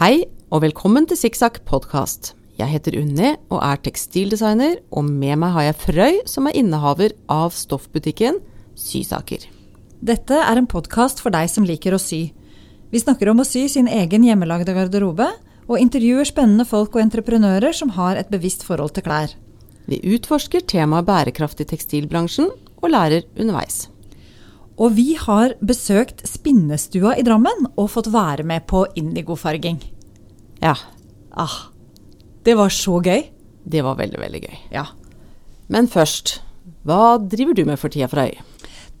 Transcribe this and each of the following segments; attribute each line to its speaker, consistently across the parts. Speaker 1: og velkommen til Sikksakk podkast. Jeg heter Unni og er tekstildesigner, og med meg har jeg Frøy, som er innehaver av stoffbutikken Sysaker.
Speaker 2: Dette er en podkast for deg som liker å sy. Vi snakker om å sy sin egen hjemmelagde garderobe, og intervjuer spennende folk og entreprenører som har et bevisst forhold til klær.
Speaker 1: Vi utforsker temaet bærekraft i tekstilbransjen, og lærer underveis.
Speaker 2: Og vi har besøkt Spinnestua i Drammen og fått være med på indigofarging.
Speaker 1: Ja,
Speaker 2: Ah, det var så gøy!
Speaker 1: det var veldig, veldig gøy.
Speaker 2: Ja.
Speaker 1: Men først, hva driver du med for tida, Frøy?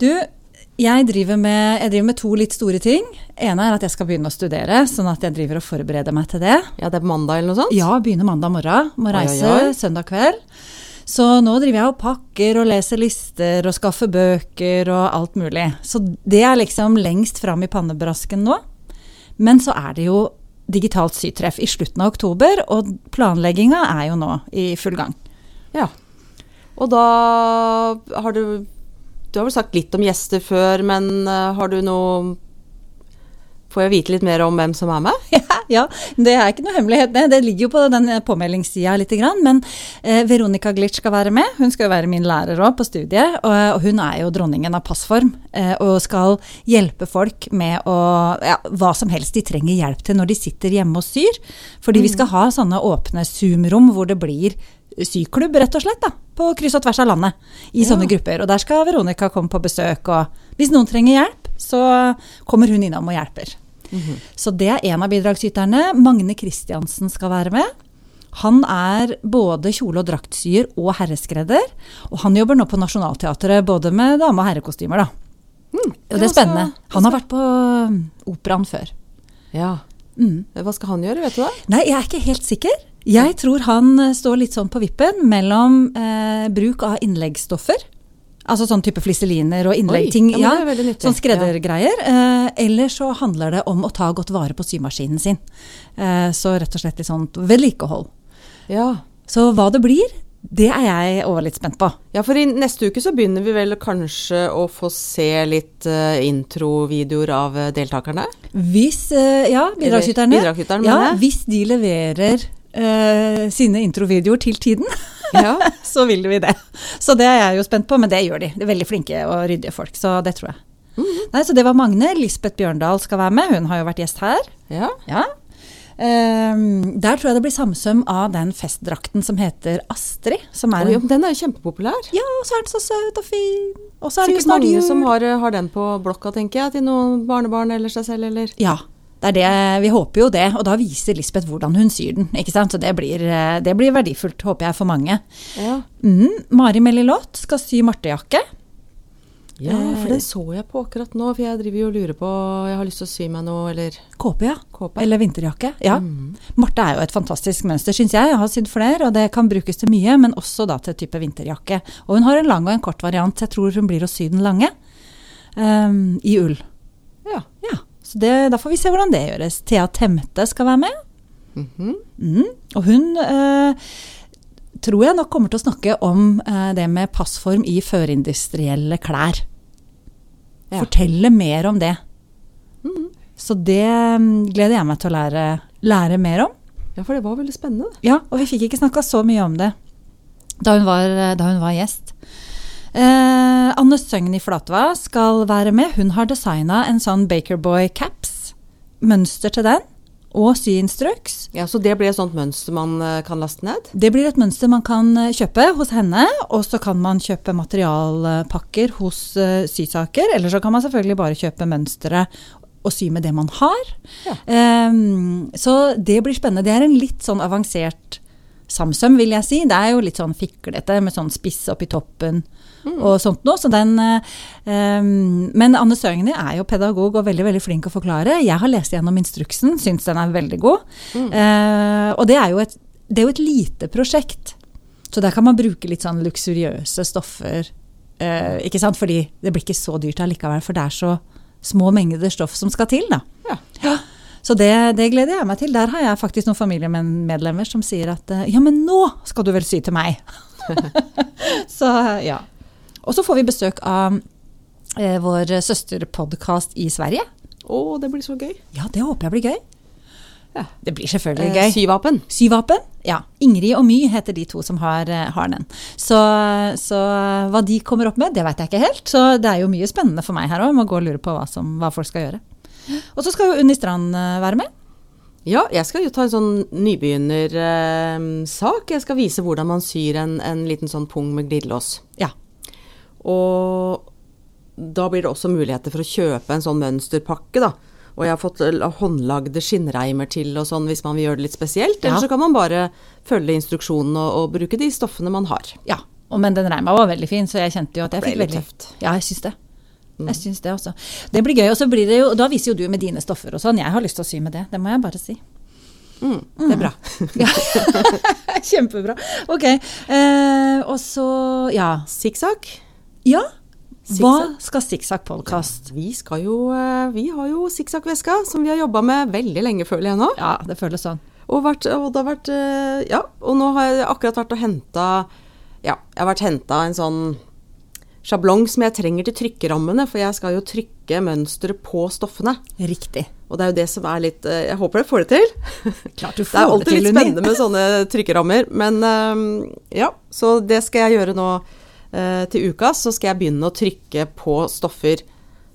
Speaker 2: Du, jeg driver, med, jeg driver med to litt store ting. ene er at jeg skal begynne å studere, sånn at jeg driver og forbereder meg til det.
Speaker 1: Ja, det er mandag eller noe sånt?
Speaker 2: Ja, begynner mandag morgen. Må
Speaker 1: oi,
Speaker 2: reise
Speaker 1: oi.
Speaker 2: søndag kveld. Så nå driver jeg og pakker og leser lister og skaffer bøker og alt mulig. Så det er liksom lengst fram i pannebrasken nå. Men så er det jo digitalt sytreff i slutten av oktober, og planlegginga er jo nå i full gang.
Speaker 1: Ja. Og da har du Du har vel sagt litt om gjester før, men eh, har du noe Får jeg vite litt mer om hvem som er med?
Speaker 2: ja, det er ikke noe hemmelighet. Det, det ligger jo på den eh, påmeldingssida lite grann. Men eh, Veronica Glitch skal være med. Hun skal jo være min lærer òg på studiet. Og, og hun er jo dronningen av passform. Eh, og skal hjelpe folk med å ja, hva som helst de trenger hjelp til når de sitter hjemme og syr. Fordi vi skal ha sånne åpne Zoom-rom hvor det blir syklubb, rett og slett. da, På kryss og tvers av landet. I sånne grupper. Og der skal Veronica komme på besøk. Og hvis noen trenger hjelp, så kommer hun innom og hjelper. Mhm. Så det er en av bidragsyterne. Magne Kristiansen skal være med. Han er både kjole- og draktsyer og herreskredder. Og han jobber nå på Nationaltheatret både med dame- og herrekostymer, da. Og
Speaker 1: altså,
Speaker 2: det er spennende. Han har vært på um, operaen før.
Speaker 1: Ja.
Speaker 2: Mm.
Speaker 1: Eh, Hva skal han gjøre, vet du det?
Speaker 2: Nei, jeg er ikke helt sikker. Jeg tror han eh, står litt sånn på vippen mellom eh, bruk av innleggsstoffer. Altså sånn type fliseliner
Speaker 1: Oi,
Speaker 2: og innlegg, ting,
Speaker 1: ja, men det er veldig nyttig.
Speaker 2: sånn skreddergreier. Eh, eller så handler det om å ta godt vare på symaskinen sin. Eh, så rett og slett litt sånn vedlikehold.
Speaker 1: Ja.
Speaker 2: Så hva det blir, det er jeg òg litt spent på.
Speaker 1: ja, for i neste uke så begynner vi vel kanskje å få se litt eh, introvideoer av eh, deltakerne.
Speaker 2: Hvis, eh, ja, bidragsyterne,
Speaker 1: Eller bidragsyteren,
Speaker 2: ja,
Speaker 1: mener jeg.
Speaker 2: hvis de leverer eh, sine introvideoer til tiden,
Speaker 1: Ja.
Speaker 2: så vil vi det. Så det er jeg jo spent på, men det gjør de. De er veldig flinke og ryddige folk, så det tror jeg. Nei, så det var Magne. Lisbeth Bjørndal skal være med, hun har jo vært gjest her.
Speaker 1: ja.
Speaker 2: Ja. Ehm, der tror jeg det blir samsøm av den festdrakten som heter Astrid. Som er
Speaker 1: Oi,
Speaker 2: en,
Speaker 1: men den er jo kjempepopulær.
Speaker 2: ja, og så er den så søt og fin. Og så er det jo
Speaker 1: Sikkert
Speaker 2: snart
Speaker 1: mange
Speaker 2: jul.
Speaker 1: som har, eh, har den på blokka, tenker jeg, til noen barnebarn eller seg selv, eller
Speaker 2: Ja, det er det. Vi håper jo det. Og da viser Lisbeth hvordan hun syr den. ikke sant? Så det blir, eh, det blir verdifullt, håper jeg, for mange.
Speaker 1: Ja.
Speaker 2: Mm, Mari Melilot skal sy martejakke.
Speaker 1: Ja, for
Speaker 2: Eh,
Speaker 1: den så jeg på akkurat nå, for jeg driver jo og lurer på Jeg har lyst til å sy meg noe, eller
Speaker 2: Kåpe, ja.
Speaker 1: Kåpe.
Speaker 2: Eller vinterjakke. Ja. Marte er jo et fantastisk mønster, syns jeg. Jeg har sydd flere, og det kan brukes til mye, men også da til type vinterjakke. Og hun har en lang og en kort variant. Jeg tror hun blir å sy den lange ehm, i ull.
Speaker 1: Ja.
Speaker 2: Ja, så det, Da får vi se hvordan det gjøres. Thea Temte skal være med.
Speaker 1: Mhm.
Speaker 2: Mm. Og hun eh, tror jeg nok kommer til å snakke om eh, det med passform i førindustrielle klær.
Speaker 1: Ja.
Speaker 2: Fortelle mer om det. Så det mm, gleder jeg meg til å lære, lære mer om.
Speaker 1: ja, for det var veldig spennende.
Speaker 2: Ja, og vi fikk ikke snakka så mye om det da hun var, da hun var gjest. Eh, Anne Søgn i Flatva skal være med. Hun har designa en sånn Bakerboy-caps. Mønster til den, og syinstruks.
Speaker 1: Ja, Så det blir et sånt mønster man eh, kan laste ned?
Speaker 2: Det blir et mønster man kan eh, kjøpe hos henne, og så kan man kjøpe materialpakker hos eh, Sysaker, eller så kan man selvfølgelig bare kjøpe mønsteret og sy med det man har.
Speaker 1: Ja.
Speaker 2: Ehm, så det blir spennende. Det er en litt sånn avansert samsøm, vil jeg si. Det er jo litt sånn fiklete med sånn spiss oppi toppen og sånt noe. Så den, eh, ehm, men Anne Søgni er jo pedagog og veldig veldig flink å forklare. Jeg har lest gjennom instruksen, syns den er veldig god. Eh, og det er, jo et, det er jo et lite prosjekt, så der kan man bruke litt sånn luksuriøse stoffer. eh, ikke sant? Fordi det blir ikke så dyrt allikevel, for det er så små mengder stoff som skal til. da.
Speaker 1: Ja.
Speaker 2: Ja, så det, det gleder jeg meg til. Der har jeg faktisk noen familiemedlemmer som sier at eh, ja, men nå skal du vel sy til meg. så eh, ja. Og så får vi besøk av eh, vår søsterpodkast i Sverige.
Speaker 1: Å, det blir så gøy.
Speaker 2: Ja, det håper jeg blir gøy.
Speaker 1: Ja.
Speaker 2: Det blir selvfølgelig
Speaker 1: Eh,
Speaker 2: gøy.
Speaker 1: Syvapen.
Speaker 2: Syvapen? Ja. Ingrid og My heter de to som har, eh, har den. Så, så hva de kommer opp med, det vet jeg ikke helt. Så det er jo mye spennende for meg her òg, med å gå og lure på hva, som, hva folk skal gjøre. Og så skal jo Unni Strand eh, være med.
Speaker 1: Ja, jeg skal jo ta en sånn nybegynnersak. jeg skal vise hvordan man syr en, en liten sånn pung med glidelås.
Speaker 2: Ja.
Speaker 1: Og da blir det også muligheter for å kjøpe en sånn mønsterpakke, da. Og jeg har fått l- håndlagde skinnreimer til og sånn hvis man vil gjøre det litt spesielt.
Speaker 2: Ja.
Speaker 1: Eller så kan man bare følge instruksjonene og, og bruke de stoffene man har.
Speaker 2: ja. Og, men den reima var veldig fin, så jeg kjente jo at jeg
Speaker 1: Det
Speaker 2: fikk
Speaker 1: ble litt
Speaker 2: veldig
Speaker 1: tøft. Mm.
Speaker 2: Ja, jeg syns det. Jeg syns det også. Det blir gøy. Og så blir det jo, og da viser jo du med dine stoffer og sånn. Jeg har lyst til å sy med det. Det må jeg bare si.
Speaker 1: Mm, det er bra.
Speaker 2: Ja. Kjempebra. Ok. Eh, og så Ja.
Speaker 1: Sikksakk.
Speaker 2: Ja. Hva
Speaker 1: Zigzag.
Speaker 2: skal Sikksakk podkast
Speaker 1: Vi skal jo eh, Vi har jo sikksakkveska som vi har jobba med veldig lenge, føler jeg nå.
Speaker 2: Ja, det føles sånn.
Speaker 1: Og, vært, og det har vært eh, Ja, og nå har jeg akkurat vært og henta Ja, jeg har vært henta en sånn sjablong som jeg trenger til trykkerammene, for jeg skal jo trykke mønsteret på stoffene.
Speaker 2: Riktig.
Speaker 1: Og det er jo det som er litt eh, Jeg håper jeg får det til.
Speaker 2: Klart du
Speaker 1: Det er
Speaker 2: får det,
Speaker 1: alltid
Speaker 2: til,
Speaker 1: litt
Speaker 2: Unni.
Speaker 1: spennende med sånne trykkerammer. Men eh, ja, så det skal jeg gjøre nå eh, til uka. Så skal jeg begynne å trykke på stoffer.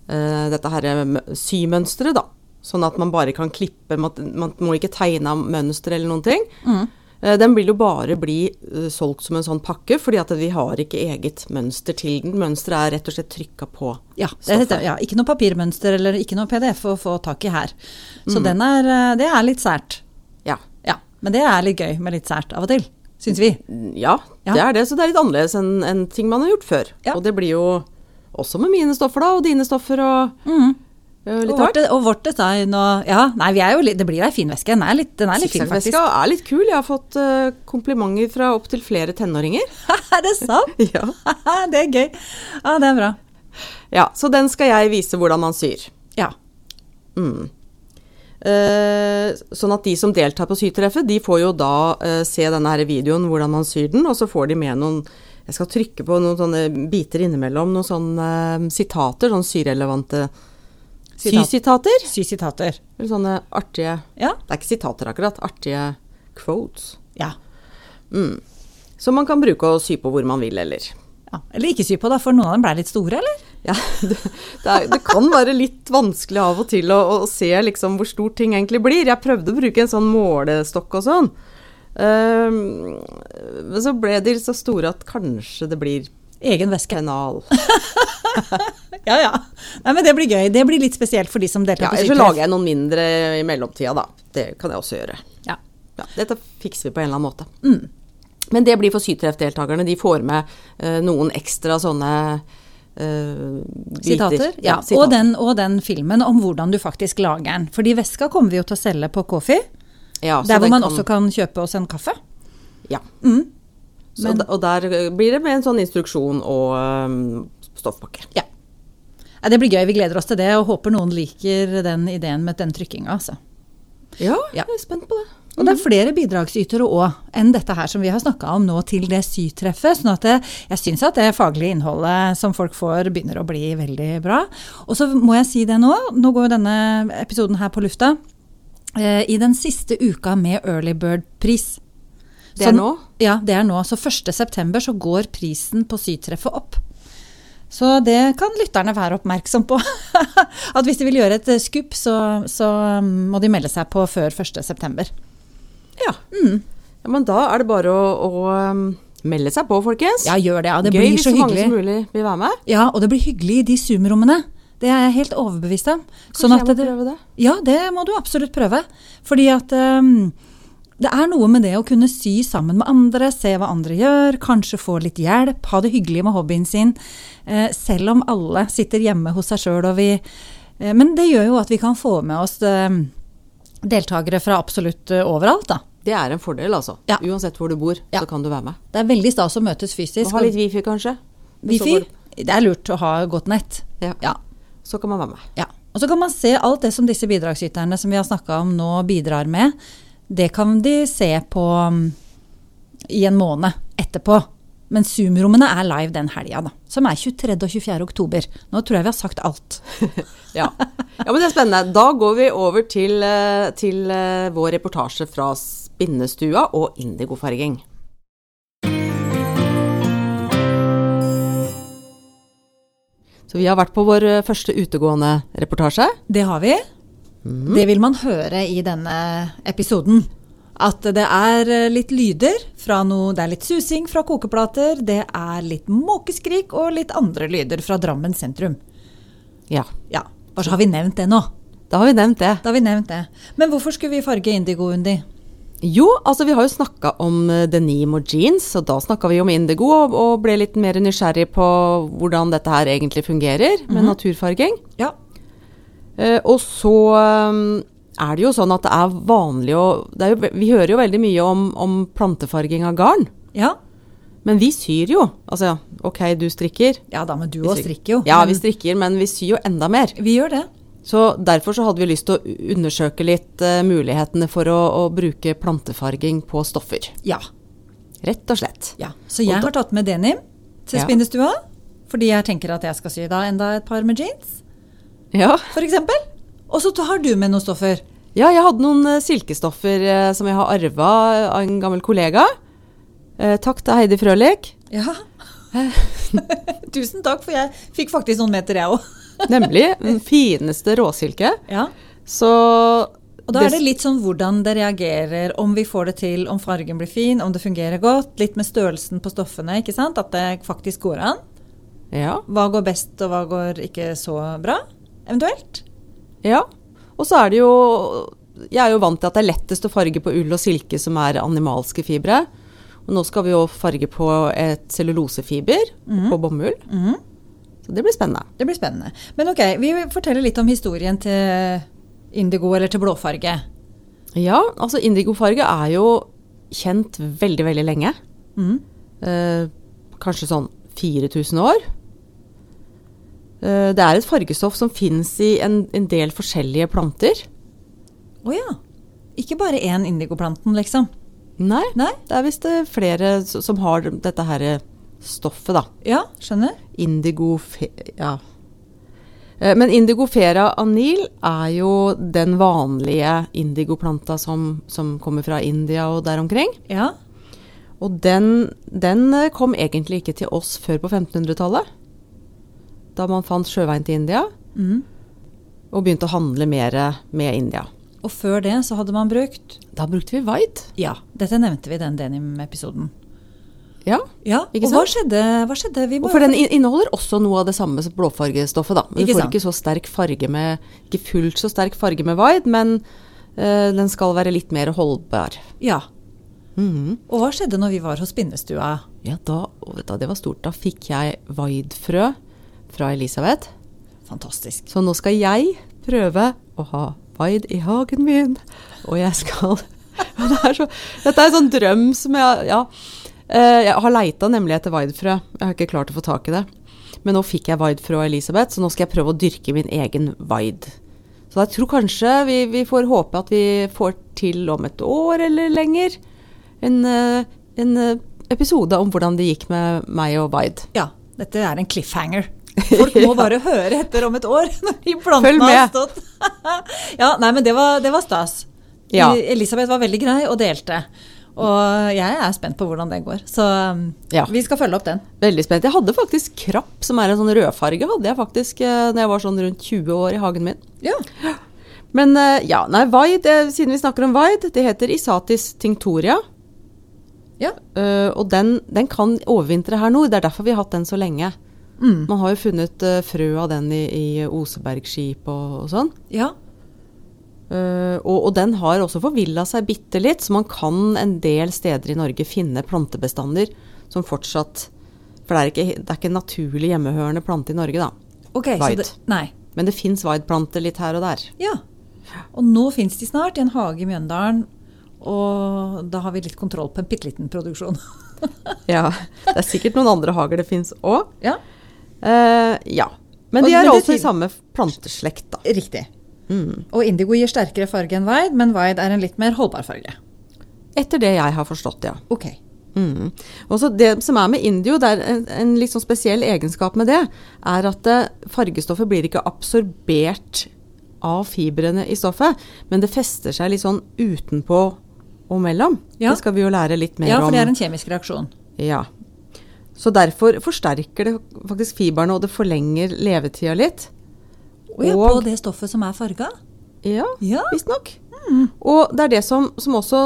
Speaker 1: eh, dette her eh, m- symønsteret, da. Sånn at man bare kan klippe. Man, man må ikke tegne av mønster eller noen ting.
Speaker 2: Mm.
Speaker 1: Eh, den vil jo bare bli eh, solgt som en sånn pakke, fordi at vi har ikke eget mønster til den. Mønsteret er rett og slett trykka på.
Speaker 2: Ja, det er, dette- ja, ikke noe papirmønster eller ikke noe PDF å få tak i her. Så den er, eh, det er litt sært.
Speaker 1: Ja.
Speaker 2: Ja, men det er litt gøy med litt sært av og til, syns vi.
Speaker 1: Ja,
Speaker 2: Ja.
Speaker 1: det er det. Så det er litt annerledes enn enn ting man har gjort før.
Speaker 2: Ja.
Speaker 1: Og det blir jo også med mine stoffer, da, og dine stoffer og
Speaker 2: Mm.
Speaker 1: eh,
Speaker 2: Og
Speaker 1: litt
Speaker 2: vårt,
Speaker 1: hardt.
Speaker 2: og vårt design og Ja, nei, vi er jo litt, det blir ei fin veske. Den er litt, den er litt fin, faktisk.
Speaker 1: Sikksakkveska er litt kul. Jeg har fått eh, komplimenter fra opptil flere tenåringer.
Speaker 2: er det sant?
Speaker 1: Ja.
Speaker 2: det er gøy. Ja, det er bra.
Speaker 1: ja, så den skal jeg vise hvordan man syr.
Speaker 2: Ja.
Speaker 1: Mm. Eh, sånn at de som deltar på sytreffet, de får jo da eh, se denne her videoen hvordan man syr den, og så får de med noen Jeg skal trykke på noen sånne biter innimellom, noen sånne eh, sitater, sånn syrelevante
Speaker 2: Sitat.
Speaker 1: sysitater.
Speaker 2: Sy sitater.
Speaker 1: Eller sånne artige
Speaker 2: Ja.
Speaker 1: Det er ikke sitater akkurat, artige quotes.
Speaker 2: ja.
Speaker 1: Mm. Som man kan bruke og sy på hvor man vil, eller.
Speaker 2: ja. Eller ikke sy på, da, for noen av dem blei litt store, eller?
Speaker 1: Ja, det, det, er, det kan være litt vanskelig av og til å, å se liksom hvor stort ting egentlig blir. Jeg prøvde å bruke en sånn målestokk og sånn. Ehm, Men så ble de så store at kanskje det blir
Speaker 2: Egen veske.
Speaker 1: pennal.
Speaker 2: Ja, ja. Nei, men det blir gøy. Det blir litt spesielt for de som deltar
Speaker 1: Ja,
Speaker 2: på
Speaker 1: eller så
Speaker 2: sykehus.
Speaker 1: lager jeg noen mindre i mellomtida, da. Det kan jeg også gjøre.
Speaker 2: Ja.
Speaker 1: Ja, dette fikser vi på en eller annen måte.
Speaker 2: Mm.
Speaker 1: Men det blir for Sytreff-deltakerne. De får med eh, noen ekstra sånne eh, biter.
Speaker 2: Sitater. Ja, og, den, og den filmen om hvordan du faktisk lager den. Fordi veska kommer vi jo til å selge på Kofi,
Speaker 1: Ja, så
Speaker 2: der hvor
Speaker 1: den
Speaker 2: man
Speaker 1: kan-
Speaker 2: også kan kjøpe oss en kaffe.
Speaker 1: Ja.
Speaker 2: Mm.
Speaker 1: Så da- og der eh, blir det med en sånn instruksjon og eh, stoffpakke.
Speaker 2: Ja. Ja, det blir gøy. Vi gleder oss til det, og håper noen liker den ideen med den trykkinga. Altså.
Speaker 1: Ja,
Speaker 2: Ja.
Speaker 1: jeg er spent på det.
Speaker 2: Og det er flere bidragsytere òg enn dette her som vi har snakka om nå til det sytreffet. sånn at det, jeg syns at det faglige innholdet som folk får, begynner å bli veldig bra. Og så må jeg si det nå, nå går jo denne episoden her på lufta. Eh, I den siste uka med Early Bird-pris.
Speaker 1: Det er
Speaker 2: Så-
Speaker 1: nå?
Speaker 2: Ja, det er nå. Så 1.9. så går prisen på sytreffet opp. Så det kan lytterne være oppmerksom på. At hvis de vil gjøre et eh, skupp, så, så mm, må de melde seg på før 1.9.
Speaker 1: Ja.
Speaker 2: Mm.
Speaker 1: ja. Men da er det bare å, å eh, melde seg på, folkens.
Speaker 2: Ja, gjør det. Ja. Det
Speaker 1: Gøy
Speaker 2: blir
Speaker 1: hvis
Speaker 2: så
Speaker 1: mange som
Speaker 2: hyggelig.
Speaker 1: mulig vil være med.
Speaker 2: Ja, og det blir hyggelig i de Zoom-rommene. Det er jeg helt overbevist om.
Speaker 1: Kanskje jeg må prøve det?
Speaker 2: Ja, Sånn det må du absolutt prøve. Fordi at ehm, det er noe med det å kunne sy sammen med andre, se hva andre gjør, kanskje få litt hjelp, ha det hyggelig med hobbyen sin. eh, selv om alle sitter hjemme hos seg sjøl og vi eh, Men det gjør jo at vi kan få med oss ehm, deltakere fra absolutt eh, overalt, da.
Speaker 1: Det er en fordel, altså.
Speaker 2: Ja.
Speaker 1: Uansett hvor du bor,
Speaker 2: Ja.
Speaker 1: så kan du være med.
Speaker 2: Det er veldig stas å møtes
Speaker 1: Og
Speaker 2: fysisk.
Speaker 1: ha litt wifi, kanskje.
Speaker 2: og Wifi? Det er lurt å ha godt nett.
Speaker 1: Ja.
Speaker 2: ja.
Speaker 1: Så kan man være med.
Speaker 2: Ja, og så kan man se alt det som disse bidragsyterne som vi har snakka om nå bidrar med. Det kan de se på mm, i en um, måned etterpå. Men Zoom-rommene er live den helga, da. Som er 23. og 24. oktober. Nå tror jeg vi har sagt alt.
Speaker 1: Ja. ja, men det er spennende. Da går vi over til, eh, til eh, vår reportasje fra spinnestua og indigofarging. Så vi har vært på vår eh, første utegående reportasje.
Speaker 2: Det har vi. Det vil man høre i denne episoden. At det er eh, litt lyder fra noe Det er litt susing fra kokeplater, det er litt måkeskrik og litt andre lyder fra Drammen sentrum.
Speaker 1: Ja,
Speaker 2: Ja, bare så har vi nevnt det nå.
Speaker 1: da har vi nevnt det.
Speaker 2: Da har vi nevnt det. Men hvorfor skulle vi farge indigo, Undi?
Speaker 1: Jo, altså vi har jo snakka om eh, denim og jeans, og da snakka vi om indigo og, og ble litt mer nysgjerrig på hvordan dette her egentlig fungerer med naturfarging.
Speaker 2: Ja.
Speaker 1: Eh, og så eh, er det jo sånn at det er vanlig å det er jo, Vi hører jo veldig mye om, om plantefarging av garn,
Speaker 2: Ja,
Speaker 1: men vi syr jo. Altså ok, du strikker.
Speaker 2: ja da, men du
Speaker 1: Vi
Speaker 2: òg
Speaker 1: syr-
Speaker 2: strikker jo.
Speaker 1: Ja,
Speaker 2: men
Speaker 1: vi strikker, men vi syr jo enda mer.
Speaker 2: vi gjør det.
Speaker 1: Så derfor så hadde vi lyst til å undersøke litt eh, mulighetene for å, å bruke plantefarging på stoffer.
Speaker 2: Ja.
Speaker 1: Rett og slett.
Speaker 2: ja. Så jeg har tatt med denim til
Speaker 1: Ja.
Speaker 2: spinnestua. Fordi jeg tenker at jeg skal sy da enda et par med jeans,
Speaker 1: Ja.
Speaker 2: f.eks. Og så har du med noen stoffer.
Speaker 1: Ja, jeg hadde noen eh, silkestoffer eh, som jeg har arva av en gammel kollega. Eh, takk til Heidi Frølik.
Speaker 2: Ja. Tusen takk, for jeg fikk faktisk noen meter, jeg òg.
Speaker 1: Nemlig den fineste råsilke.
Speaker 2: Ja.
Speaker 1: Så
Speaker 2: Og da er det litt sånn hvordan det reagerer, om vi får det til, om fargen blir fin, om det fungerer godt. Litt med størrelsen på stoffene, ikke sant. At det faktisk går an.
Speaker 1: Ja.
Speaker 2: Hva går best, og hva går ikke så bra, eventuelt.
Speaker 1: ja. Og så er det jo Jeg er jo vant til at det er lettest å farge på ull og silke som er animalske fibre. Og nå skal vi jo farge på et cellulosefiber
Speaker 2: Mhm.
Speaker 1: på bomull. Så det blir spennende.
Speaker 2: Det blir spennende. Men ok, vi forteller litt om historien til indigo eller til blåfarge.
Speaker 1: Ja, altså indigofarge er jo kjent veldig, veldig lenge.
Speaker 2: Mhm.
Speaker 1: Eh, kanskje sånn 4000 år. Eh, det er et fargestoff som fins i en, en del forskjellige planter.
Speaker 2: Å ja. Ikke bare én indigoplanten, liksom.
Speaker 1: Nei,
Speaker 2: Nei?
Speaker 1: det er visst eh, flere s- som har dette her eh, stoffet, da.
Speaker 2: Ja, skjønner.
Speaker 1: Indigofe... Ja. Eh, Men indigofera anil er jo den vanlige indigoplanta som, som kommer fra India og der omkring.
Speaker 2: Ja.
Speaker 1: Og den, den eh, kom egentlig ikke til oss før på 1500-tallet. Da man fant sjøveien til India Mm. og begynte å handle mer med India.
Speaker 2: Og før det så hadde man brukt
Speaker 1: Da brukte vi white.
Speaker 2: Ja, dette nevnte vi i den denim-episoden.
Speaker 1: Ja.
Speaker 2: Ja,
Speaker 1: Ikke
Speaker 2: Og hva skjedde? Hva skjedde? Vi
Speaker 1: Og
Speaker 2: må-
Speaker 1: for den in- inneholder også noe av det samme som blåfargestoffet, da. Men
Speaker 2: Ikke
Speaker 1: du får
Speaker 2: sant.
Speaker 1: ikke så sterk farge med Ikke fullt så sterk farge med white, men eh, den skal være litt mer holdbar. Mhm.
Speaker 2: Ja. Og hva skjedde når vi var hos spinnestua?
Speaker 1: Ja, da, og vet du, det var stort. Da fikk jeg white-frø fra Elisabeth.
Speaker 2: Fantastisk.
Speaker 1: Så nå skal jeg prøve å ha Vaid i hagen min, og jeg skal Og det er så, Dette er en sånn drøm som jeg Ja. Eh, Jeg har leita nemlig etter Vaid-frø. Jeg har ikke klart å få tak i det. Men nå fikk jeg Vaid-frø og Elisabeth, så nå skal jeg prøve å dyrke min egen Vaid. Så jeg tror kanskje vi, vi får håpe at vi får til om et år eller lenger en, eh, en eh, episode om hvordan det gikk med meg og Vaid.
Speaker 2: Ja, dette er en cliffhanger. Folk må bare høre etter om et år når de
Speaker 1: Følg
Speaker 2: plantene har
Speaker 1: med.
Speaker 2: stått. ja, nei, men det var, det var stas.
Speaker 1: Ja.
Speaker 2: Elisabeth var veldig grei og delte. Og jeg er spent på hvordan det går. Så um,
Speaker 1: Ja.
Speaker 2: vi skal følge opp den.
Speaker 1: Veldig spent. Jeg hadde faktisk krapp, som er en sånn rødfarge, hadde jeg faktisk eh, da jeg var sånn rundt 20 år i hagen min.
Speaker 2: Ja.
Speaker 1: Men eh, ja, nei, Vaid, eh, siden vi snakker om Vaid, det heter Isatis tinctoria.
Speaker 2: ja.
Speaker 1: eh, og den, den kan overvintre her nord, det er derfor vi har hatt den så lenge.
Speaker 2: Mm.
Speaker 1: Man har jo funnet eh, frø av den i, i Osebergskip og, og sånn.
Speaker 2: ja.
Speaker 1: Eh, og, og den har også forvilla seg bitte litt, så man kan en del steder i Norge finne plantebestander som fortsatt For det er ikke, det er ikke en naturlig hjemmehørende plante i Norge, da.
Speaker 2: Ok, så
Speaker 1: White.
Speaker 2: det, nei.
Speaker 1: Men det fins white-planter litt her og der.
Speaker 2: Ja. Og nå fins de snart i en hage i Mjøndalen. Og da har vi litt kontroll på en bitte liten produksjon.
Speaker 1: Ja, Det er sikkert noen andre hager det fins òg.
Speaker 2: ja,
Speaker 1: ja. Men de
Speaker 2: Og- men
Speaker 1: er
Speaker 2: det
Speaker 1: altså i
Speaker 2: tyder-
Speaker 1: samme planteslekt, da.
Speaker 2: Riktig. Mm. Og indigo gir sterkere farge enn wide, men wide er en litt mer holdbar farge.
Speaker 1: Etter det jeg har forstått, ja.
Speaker 2: Ok.
Speaker 1: Mm. Og så Det som er med indio, det er en, en litt sånn spesiell egenskap med det, er at eh, fargestoffet blir ikke absorbert av fibrene i stoffet, men det fester seg litt sånn utenpå og mellom.
Speaker 2: Ja.
Speaker 1: Det skal vi jo lære litt mer
Speaker 2: Ja,
Speaker 1: om.
Speaker 2: for det er en kjemisk reaksjon.
Speaker 1: Ja. Så derfor forsterker det faktisk fibrene, og det forlenger levetida litt.
Speaker 2: Å ja,
Speaker 1: Og-
Speaker 2: på det stoffet som er farga?
Speaker 1: Ja,
Speaker 2: Ja. Mm.
Speaker 1: visstnok. Og det er det som, som også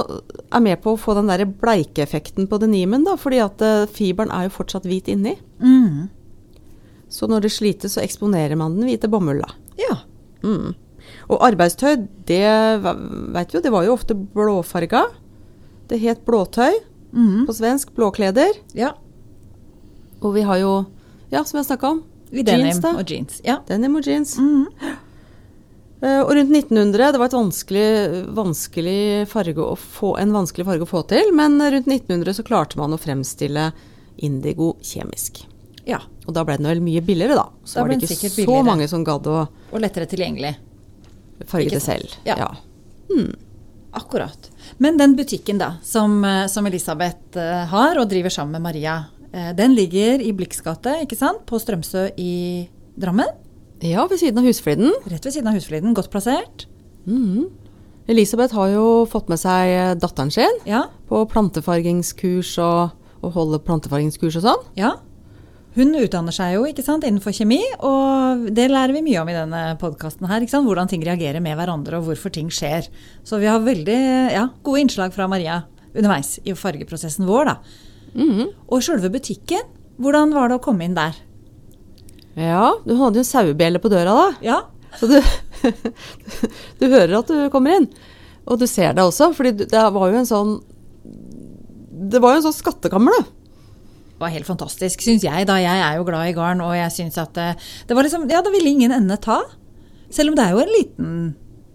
Speaker 1: er med på å få den der bleikeeffekten på denimen, da, fordi at eh, fiberen er jo fortsatt hvit inni.
Speaker 2: Mm.
Speaker 1: Så når det slites, så eksponerer man den hvite bomulla.
Speaker 2: Ja.
Speaker 1: Mm. Og arbeidstøy, det v- vet vi jo, det var jo ofte blåfarga. Det het blåtøy
Speaker 2: Mhm.
Speaker 1: på svensk, blåkleder.
Speaker 2: ja.
Speaker 1: Og vi har jo, ja, som jeg snakka om,
Speaker 2: Denim
Speaker 1: jeans, da.
Speaker 2: og jeans. Ja. Mm.
Speaker 1: Denim og jeans. Eh, Og rundt 1900, det var et vanskelig, vanskelig farge å få, en vanskelig farge å få til, men rundt 1900 så klarte man å fremstille indigo kjemisk.
Speaker 2: ja.
Speaker 1: Og da ble den vel mye billigere, da. Så
Speaker 2: Da
Speaker 1: var det
Speaker 2: ble den
Speaker 1: ikke
Speaker 2: sikkert
Speaker 1: så
Speaker 2: billigere.
Speaker 1: mange som gadd å
Speaker 2: Og lettere tilgjengelig.
Speaker 1: farge
Speaker 2: Ikke
Speaker 1: det
Speaker 2: sant?
Speaker 1: selv.
Speaker 2: Ja. Akkurat. Men den butikken da, som, eh, som Elisabeth eh, har og driver sammen med Maria, eh, den ligger i Blix gate, ikke sant? På Strømsø i Drammen.
Speaker 1: ja, ved siden av husfliden.
Speaker 2: Rett ved siden av husfliden, godt plassert.
Speaker 1: Elisabeth har jo fått med seg eh, datteren sin
Speaker 2: Ja,
Speaker 1: på plantefargingskurs og, og holder plantefargingskurs og sånn.
Speaker 2: ja. Hun utdanner seg jo ikke sant, innenfor kjemi, og det lærer vi mye om i denne podkasten. Hvordan ting reagerer med hverandre, og hvorfor ting skjer. Så vi har veldig ja, gode innslag fra Maria underveis i fargeprosessen vår. da.
Speaker 1: Mhm.
Speaker 2: Og sjølve butikken, hvordan var det å komme inn der?
Speaker 1: Ja, du hadde jo en sauebjelle på døra da.
Speaker 2: Ja,
Speaker 1: Så du, du hører at du kommer inn, og du ser det også, fordi du- det var jo en sånn Det var jo en sånn skattekammer, da.
Speaker 2: var helt fantastisk, syns jeg. da. Jeg er jo glad i garn, og jeg syns at eh, det var liksom Ja, det ville ingen ende ta. Selv om det er jo en liten,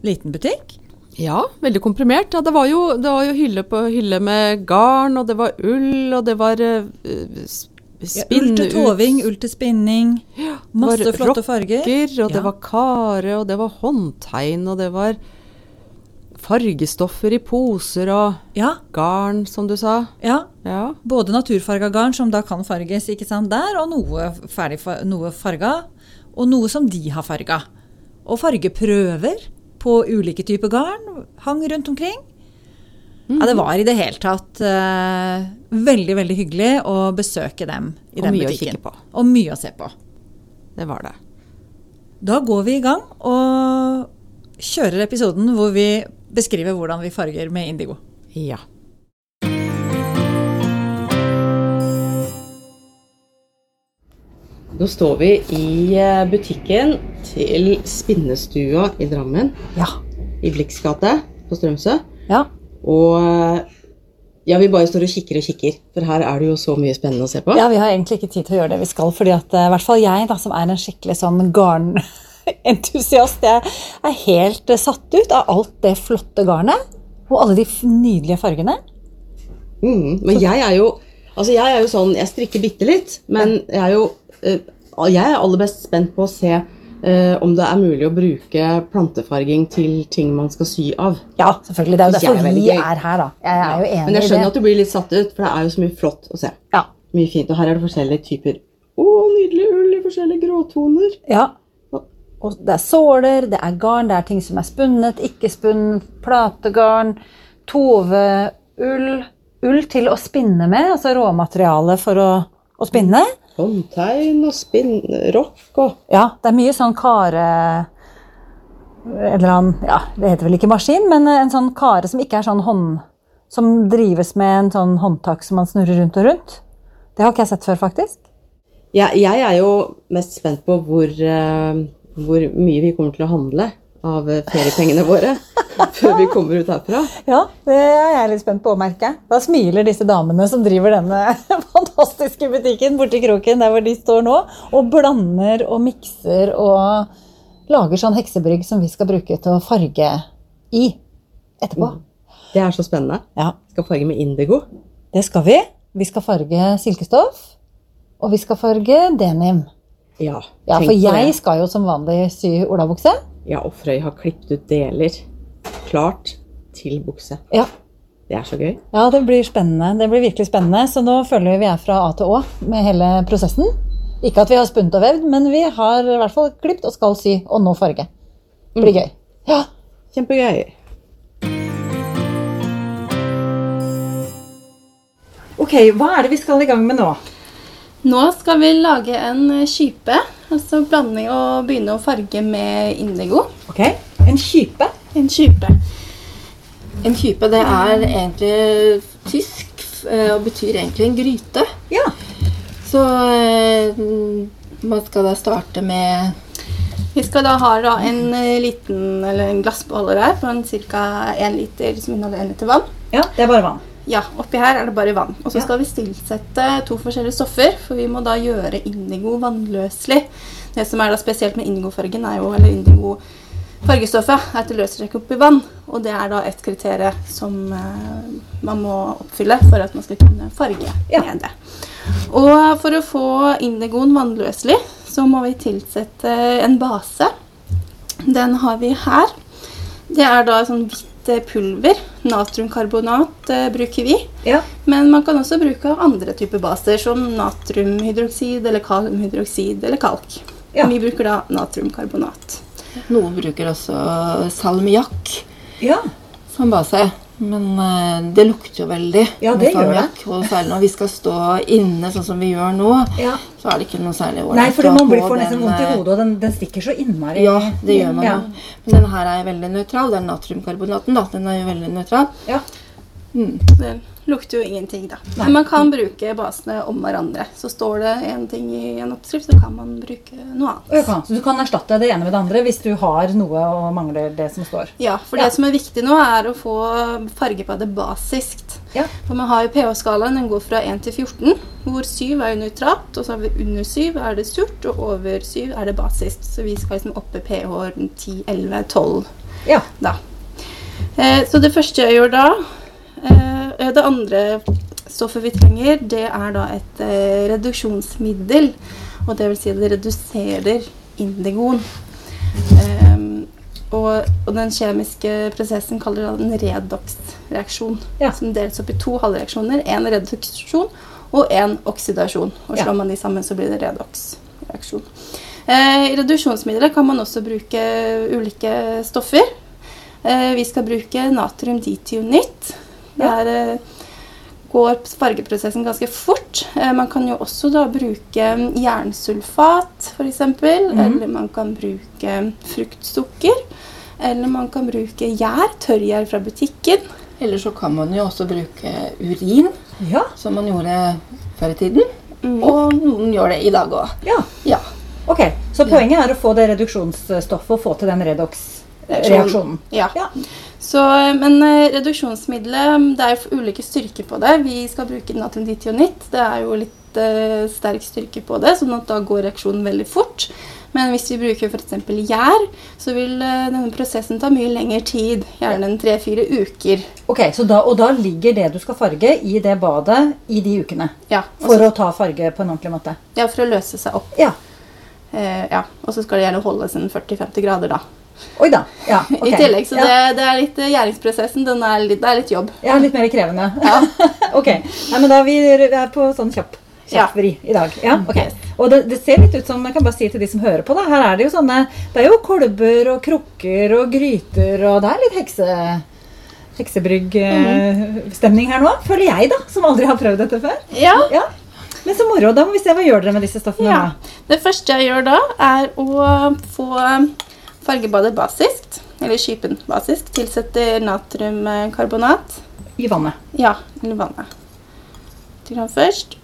Speaker 2: liten butikk.
Speaker 1: Ja, veldig komprimert. Ja, det var jo, det var jo hylle på hylle med garn, og det var ull, og det var uh,
Speaker 2: Ja, ull til toving, ull til spinning. Masse
Speaker 1: Det var
Speaker 2: flotte farger.
Speaker 1: rocker, Og
Speaker 2: Ja.
Speaker 1: det var kare, og det var håndtegn, og det var fargestoffer i poser og
Speaker 2: Ja,
Speaker 1: garn, som du sa.
Speaker 2: ja.
Speaker 1: Ja.
Speaker 2: Både naturfarga garn, som da kan farges ikke sant, der, og noe, ferdig, fa- noe farga, og noe som de har farga. Og fargeprøver på ulike typer garn hang rundt omkring. Ja,
Speaker 1: Mm.
Speaker 2: Det var i det hele tatt eh, veldig veldig hyggelig å besøke dem i
Speaker 1: Og
Speaker 2: den
Speaker 1: mye å
Speaker 2: butikken.
Speaker 1: kikke på.
Speaker 2: Og mye å se på.
Speaker 1: Det var det.
Speaker 2: Da går vi i gang og kjører episoden hvor vi beskriver hvordan vi farger med indigo.
Speaker 1: Ja. Nå står vi i eh, butikken til Spinnestua i Drammen,
Speaker 2: Ja.
Speaker 1: i Blix gate på Strømsø.
Speaker 2: ja.
Speaker 1: Og eh, ja, vi bare står og kikker og kikker, for her er det jo så mye spennende å se på.
Speaker 2: Ja, vi har egentlig ikke tid til å gjøre det vi skal, fordi at eh, i hvert fall jeg, da, som er en skikkelig sånn garnentusiast, jeg er helt eh, satt ut av alt det flotte garnet og alle de f- nydelige fargene.
Speaker 1: Mm, men jeg er jo Altså, jeg er jo sånn Jeg strikker bitte litt, men jeg er jo eh, Jeg er aller best spent på å se eh, om det er mulig å bruke plantefarging til ting man skal sy av.
Speaker 2: Ja, selvfølgelig. Det er jo
Speaker 1: Synes jeg er
Speaker 2: derfor
Speaker 1: veldig
Speaker 2: vi
Speaker 1: gøy.
Speaker 2: er her, da. Jeg er jo enig
Speaker 1: Men jeg
Speaker 2: i
Speaker 1: skjønner
Speaker 2: det.
Speaker 1: at du blir litt satt ut, for det er jo så mye flott å se.
Speaker 2: Ja.
Speaker 1: Mye fint, Og her er det forskjellige typer. Å, nydelig ull i forskjellige gråtoner.
Speaker 2: ja. Og det er såler, det er garn, det er ting som er spunnet, ikke spunnet, plategarn, toveull Ull til å spinne med, altså råmateriale for å, å spinne.
Speaker 1: Håndtegn og spinnrock og
Speaker 2: Ja, det er mye sånn kare eh, Eller annen Ja, det heter vel ikke maskin, men en sånn kare som ikke er sånn hånd... Som drives med en sånn håndtak som man snurrer rundt og rundt. Det har ikke jeg sett før, faktisk.
Speaker 1: jeg, jeg er jo mest spent på hvor, eh, hvor mye vi kommer til å handle av eh, feriepengene våre før vi kommer ut herfra.
Speaker 2: Ja, det er jeg litt spent på å merke. Da smiler disse damene som driver denne fantastiske butikken borti kroken der hvor de står nå, og blander og mikser og lager sånn heksebrygg som vi skal bruke til å farge i etterpå.
Speaker 1: Det er så spennende.
Speaker 2: Mm. Ja,
Speaker 1: Skal farge med indigo.
Speaker 2: Det skal vi. Vi skal farge silkestoff, og vi skal farge denim.
Speaker 1: Ja,
Speaker 2: Ja,
Speaker 1: tenk
Speaker 2: For
Speaker 1: på
Speaker 2: jeg
Speaker 1: det.
Speaker 2: skal jo som vanlig sy olabukse.
Speaker 1: Ja, og Frøy har klippet ut deler klart til bukse.
Speaker 2: Ja.
Speaker 1: Det er så gøy.
Speaker 2: Ja, det blir spennende. Det blir virkelig spennende. Så nå føler vi vi er fra A til Å med hele prosessen. Ikke at vi har spunnet og vevd, men vi har i hvert fall klipt og skal sy, og nå farge. Det blir gøy. Ja.
Speaker 1: Mm. Kjempegøy.
Speaker 2: Ok, hva er det vi skal i gang med nå?
Speaker 3: Nå skal vi lage en kype, altså blanding og begynne å farge med indigo.
Speaker 2: Ok, En kype.
Speaker 3: En kype. En kype det er egentlig tysk f- eh, og betyr egentlig en gryte.
Speaker 2: Ja.
Speaker 3: Så eh, man skal da starte med Vi skal da ha da en eh, liten eller en glassbeholder her på ca. 1 liter som inneholder 1 liter vann.
Speaker 2: ja. Det er bare vann.
Speaker 3: Ja, oppi her er det bare vann. Og så
Speaker 2: Ja.
Speaker 3: skal vi tilsette to forskjellige stoffer, for vi må da gjøre indigo vannløselig. Det som er da spesielt med indigofargen, er jo, eller indigo fargestoffet, er at det løser seg ikke opp i vann. Og det er da et kriterium som eh, man må oppfylle for at man skal kunne farge
Speaker 2: Ja.
Speaker 3: med det. Og for å få indigoen vannløselig, så må vi tilsette en base. Den har vi her. Det er da sånn hvitt eh, pulver. Natriumkarbonat eh, bruker vi.
Speaker 2: Ja.
Speaker 3: Men man kan også bruke andre typer baser, som natriumhydroksid eller kaliumhydroksid eller kalk.
Speaker 2: Ja.
Speaker 3: Vi bruker da natriumkarbonat.
Speaker 4: Noen bruker også salmiakk
Speaker 2: Ja.
Speaker 4: som base. Men eh, det lukter jo veldig
Speaker 2: Ja, det gjør
Speaker 4: salmiakk. Og særlig når vi skal stå inne sånn som vi gjør nå,
Speaker 2: Ja.
Speaker 4: så er det ikke noe særlig ålreit.
Speaker 2: Nei, for
Speaker 4: å ha
Speaker 2: man blir
Speaker 4: på
Speaker 2: får nesten
Speaker 4: den,
Speaker 2: vondt i
Speaker 4: eh,
Speaker 2: hodet, og den, den stikker så innmari.
Speaker 4: Ja, det gjør man jo.
Speaker 2: Ja.
Speaker 4: Men den her er veldig nøytral. Det er natriumkarbonaten, da. Den er jo veldig nøytral.
Speaker 2: Ja.
Speaker 3: Det lukter jo ingenting, da. Men man kan bruke basene om hverandre. Så står det én ting i en oppskrift, så kan man bruke noe annet.
Speaker 2: Og jeg kan- Så du kan erstatte det ene med det andre hvis du har noe og mangler det som står.
Speaker 3: Ja, for
Speaker 2: Ja.
Speaker 3: det som er viktig nå, er å få farge på det basiskt.
Speaker 2: Ja.
Speaker 3: For man har jo pH-skalaen, den går fra 1 til 14, hvor 7 er jo nøytralt, og så har vi under 7 er det surt, og over 7 er det basiskt. Så vi skal liksom oppe pH rundt 10, 11, 12
Speaker 2: Ja.
Speaker 3: da. Eh, så det første jeg gjør da eh, Det andre stoffet vi trenger, det er da et eh, reduksjonsmiddel. Og det vil si at det reduserer indigoen. Ehm, og, og den kjemiske prosessen kaller det en redox-reaksjon.
Speaker 2: Ja.
Speaker 3: Som deles opp i to halvreaksjoner. En reduksjon og en oksidasjon. Og
Speaker 2: Ja.
Speaker 3: slår man de sammen, så blir det redox-reaksjon. Eh, I reduksjonsmiddelet kan man også bruke ulike stoffer. Eh, vi skal bruke natriumditionit. Der eh, går fargeprosessen ganske fort. Eh, man kan jo også da bruke mm, jernsulfat, f.eks. eksempel, Eller man kan bruke fruktsukker. Eller man kan bruke gjær, tørrgjær fra butikken.
Speaker 4: Eller så kan man jo også bruke urin,
Speaker 2: Ja.
Speaker 4: som man gjorde før i tiden.
Speaker 3: Mm.
Speaker 4: Og noen gjør det i dag òg.
Speaker 2: ja.
Speaker 4: Ja.
Speaker 2: Ok, Så poenget er å få det reduksjonsstoffet og få til den
Speaker 3: sånn-
Speaker 2: redox-reaksjonen.
Speaker 3: Ja.
Speaker 2: Ja.
Speaker 3: Så, eh, men eh, reduksjonsmiddelet, mm, det er jo f- ulike styrker på det. Vi skal bruke natriumditionit. Det er jo litt eh, sterk styrke på det, sånn at da går reaksjonen veldig fort. Men hvis vi bruker f.eks. gjær, så vil eh, denne prosessen ta mye lengre tid. Gjerne en tre-fire uker.
Speaker 2: Ok, så da, Og da ligger det du skal farge, i det badet i de ukene.
Speaker 3: Ja, og
Speaker 2: For
Speaker 3: så-
Speaker 2: å ta farge på en ordentlig måte.
Speaker 3: ja, for å løse seg opp.
Speaker 2: Ja.
Speaker 3: Eh, ja. Og så skal det gjerne holdes en 40-50 grader, da.
Speaker 2: Oi da. Ja, ok.
Speaker 3: I tillegg, så
Speaker 2: ja.
Speaker 3: det, det er litt eh, gjæringsprosessen. Den er litt, det er litt jobb.
Speaker 2: Ja, litt mer krevende.
Speaker 3: Ja.
Speaker 2: ok. Nei, men da er vi er på sånn kjapp
Speaker 3: Ja.
Speaker 2: kjappvri i dag. Ja, ok. Og det, det ser litt ut som, jeg kan bare si til de som hører på, da, her er det jo sånne Det er jo kolber og krukker og gryter, og det er litt hekse,
Speaker 3: Mm.
Speaker 2: heksebryggstemning her nå. Føler jeg, da, som aldri har prøvd dette før.
Speaker 3: Ja,
Speaker 2: Ja. Men så moro. Da må vi se hva gjør dere med disse stoffene
Speaker 3: Ja.
Speaker 2: nå.
Speaker 3: Det første jeg gjør da, er å få fargebadet basiskt, eller skypen basisk. Tilsetter natriumkarbonat.
Speaker 2: i vannet.
Speaker 3: Ja, eller vannet. Til han først.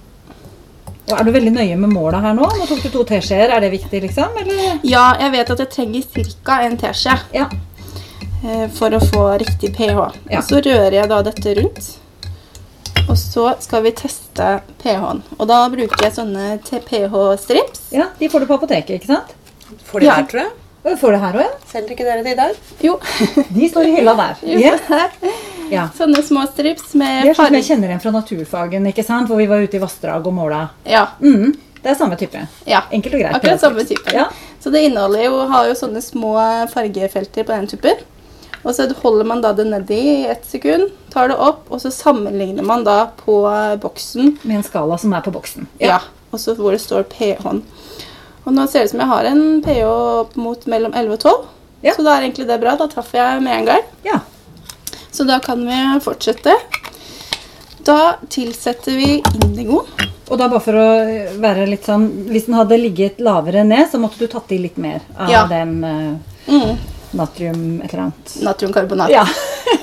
Speaker 2: Og er du veldig nøye med måla her nå? Nå tok du to teskjeer. Er det viktig, liksom? Eller?
Speaker 3: Ja, jeg vet at jeg trenger ca. en teskje
Speaker 2: Ja.
Speaker 3: eh, for å få riktig pH.
Speaker 2: Ja.
Speaker 3: Og så rører jeg da dette rundt. Og så skal vi teste pH-en. Og da bruker jeg sånne pH-strips.
Speaker 2: ja. De får du på apoteket, ikke sant?
Speaker 1: Får de
Speaker 3: Ja.
Speaker 1: her, tror jeg?
Speaker 2: Og Får du her òg, ja?
Speaker 1: Selger ikke dere det i dag?
Speaker 3: Jo.
Speaker 2: De står i hylla der. Ja. Ja.
Speaker 3: Sånne små strips med
Speaker 2: Det er sånn som jeg
Speaker 3: farge.
Speaker 2: kjenner igjen fra naturfagen, ikke sant? hvor vi var ute i vassdrag og måla.
Speaker 3: Ja,
Speaker 2: Mm, det er samme type.
Speaker 3: ja.
Speaker 2: Enkelt og greit.
Speaker 3: Akkurat samme type.
Speaker 2: Ja.
Speaker 3: Så det inneholder jo, har jo sånne små fargefelter på den typen. Og så holder man da det nedi i ett sekund, tar det opp, og så sammenligner man da på eh, boksen.
Speaker 2: Med en skala som er på boksen.
Speaker 3: Ja. Og så hvor det står pH-en. Og nå ser det ut som jeg har en pH opp mot mellom 11 og 12,
Speaker 2: Ja.
Speaker 3: så da er egentlig det bra. Da traff jeg med en gang.
Speaker 2: Ja.
Speaker 3: Så da kan vi fortsette. Da tilsetter vi indigo.
Speaker 2: Og da bare for å være litt sånn Hvis den hadde ligget lavere ned, så måtte du tatt i litt mer av
Speaker 3: Ja.
Speaker 2: den eh,
Speaker 3: Mm.
Speaker 2: natrium et eller annet.
Speaker 3: Natriumkarbonat.
Speaker 2: Ja.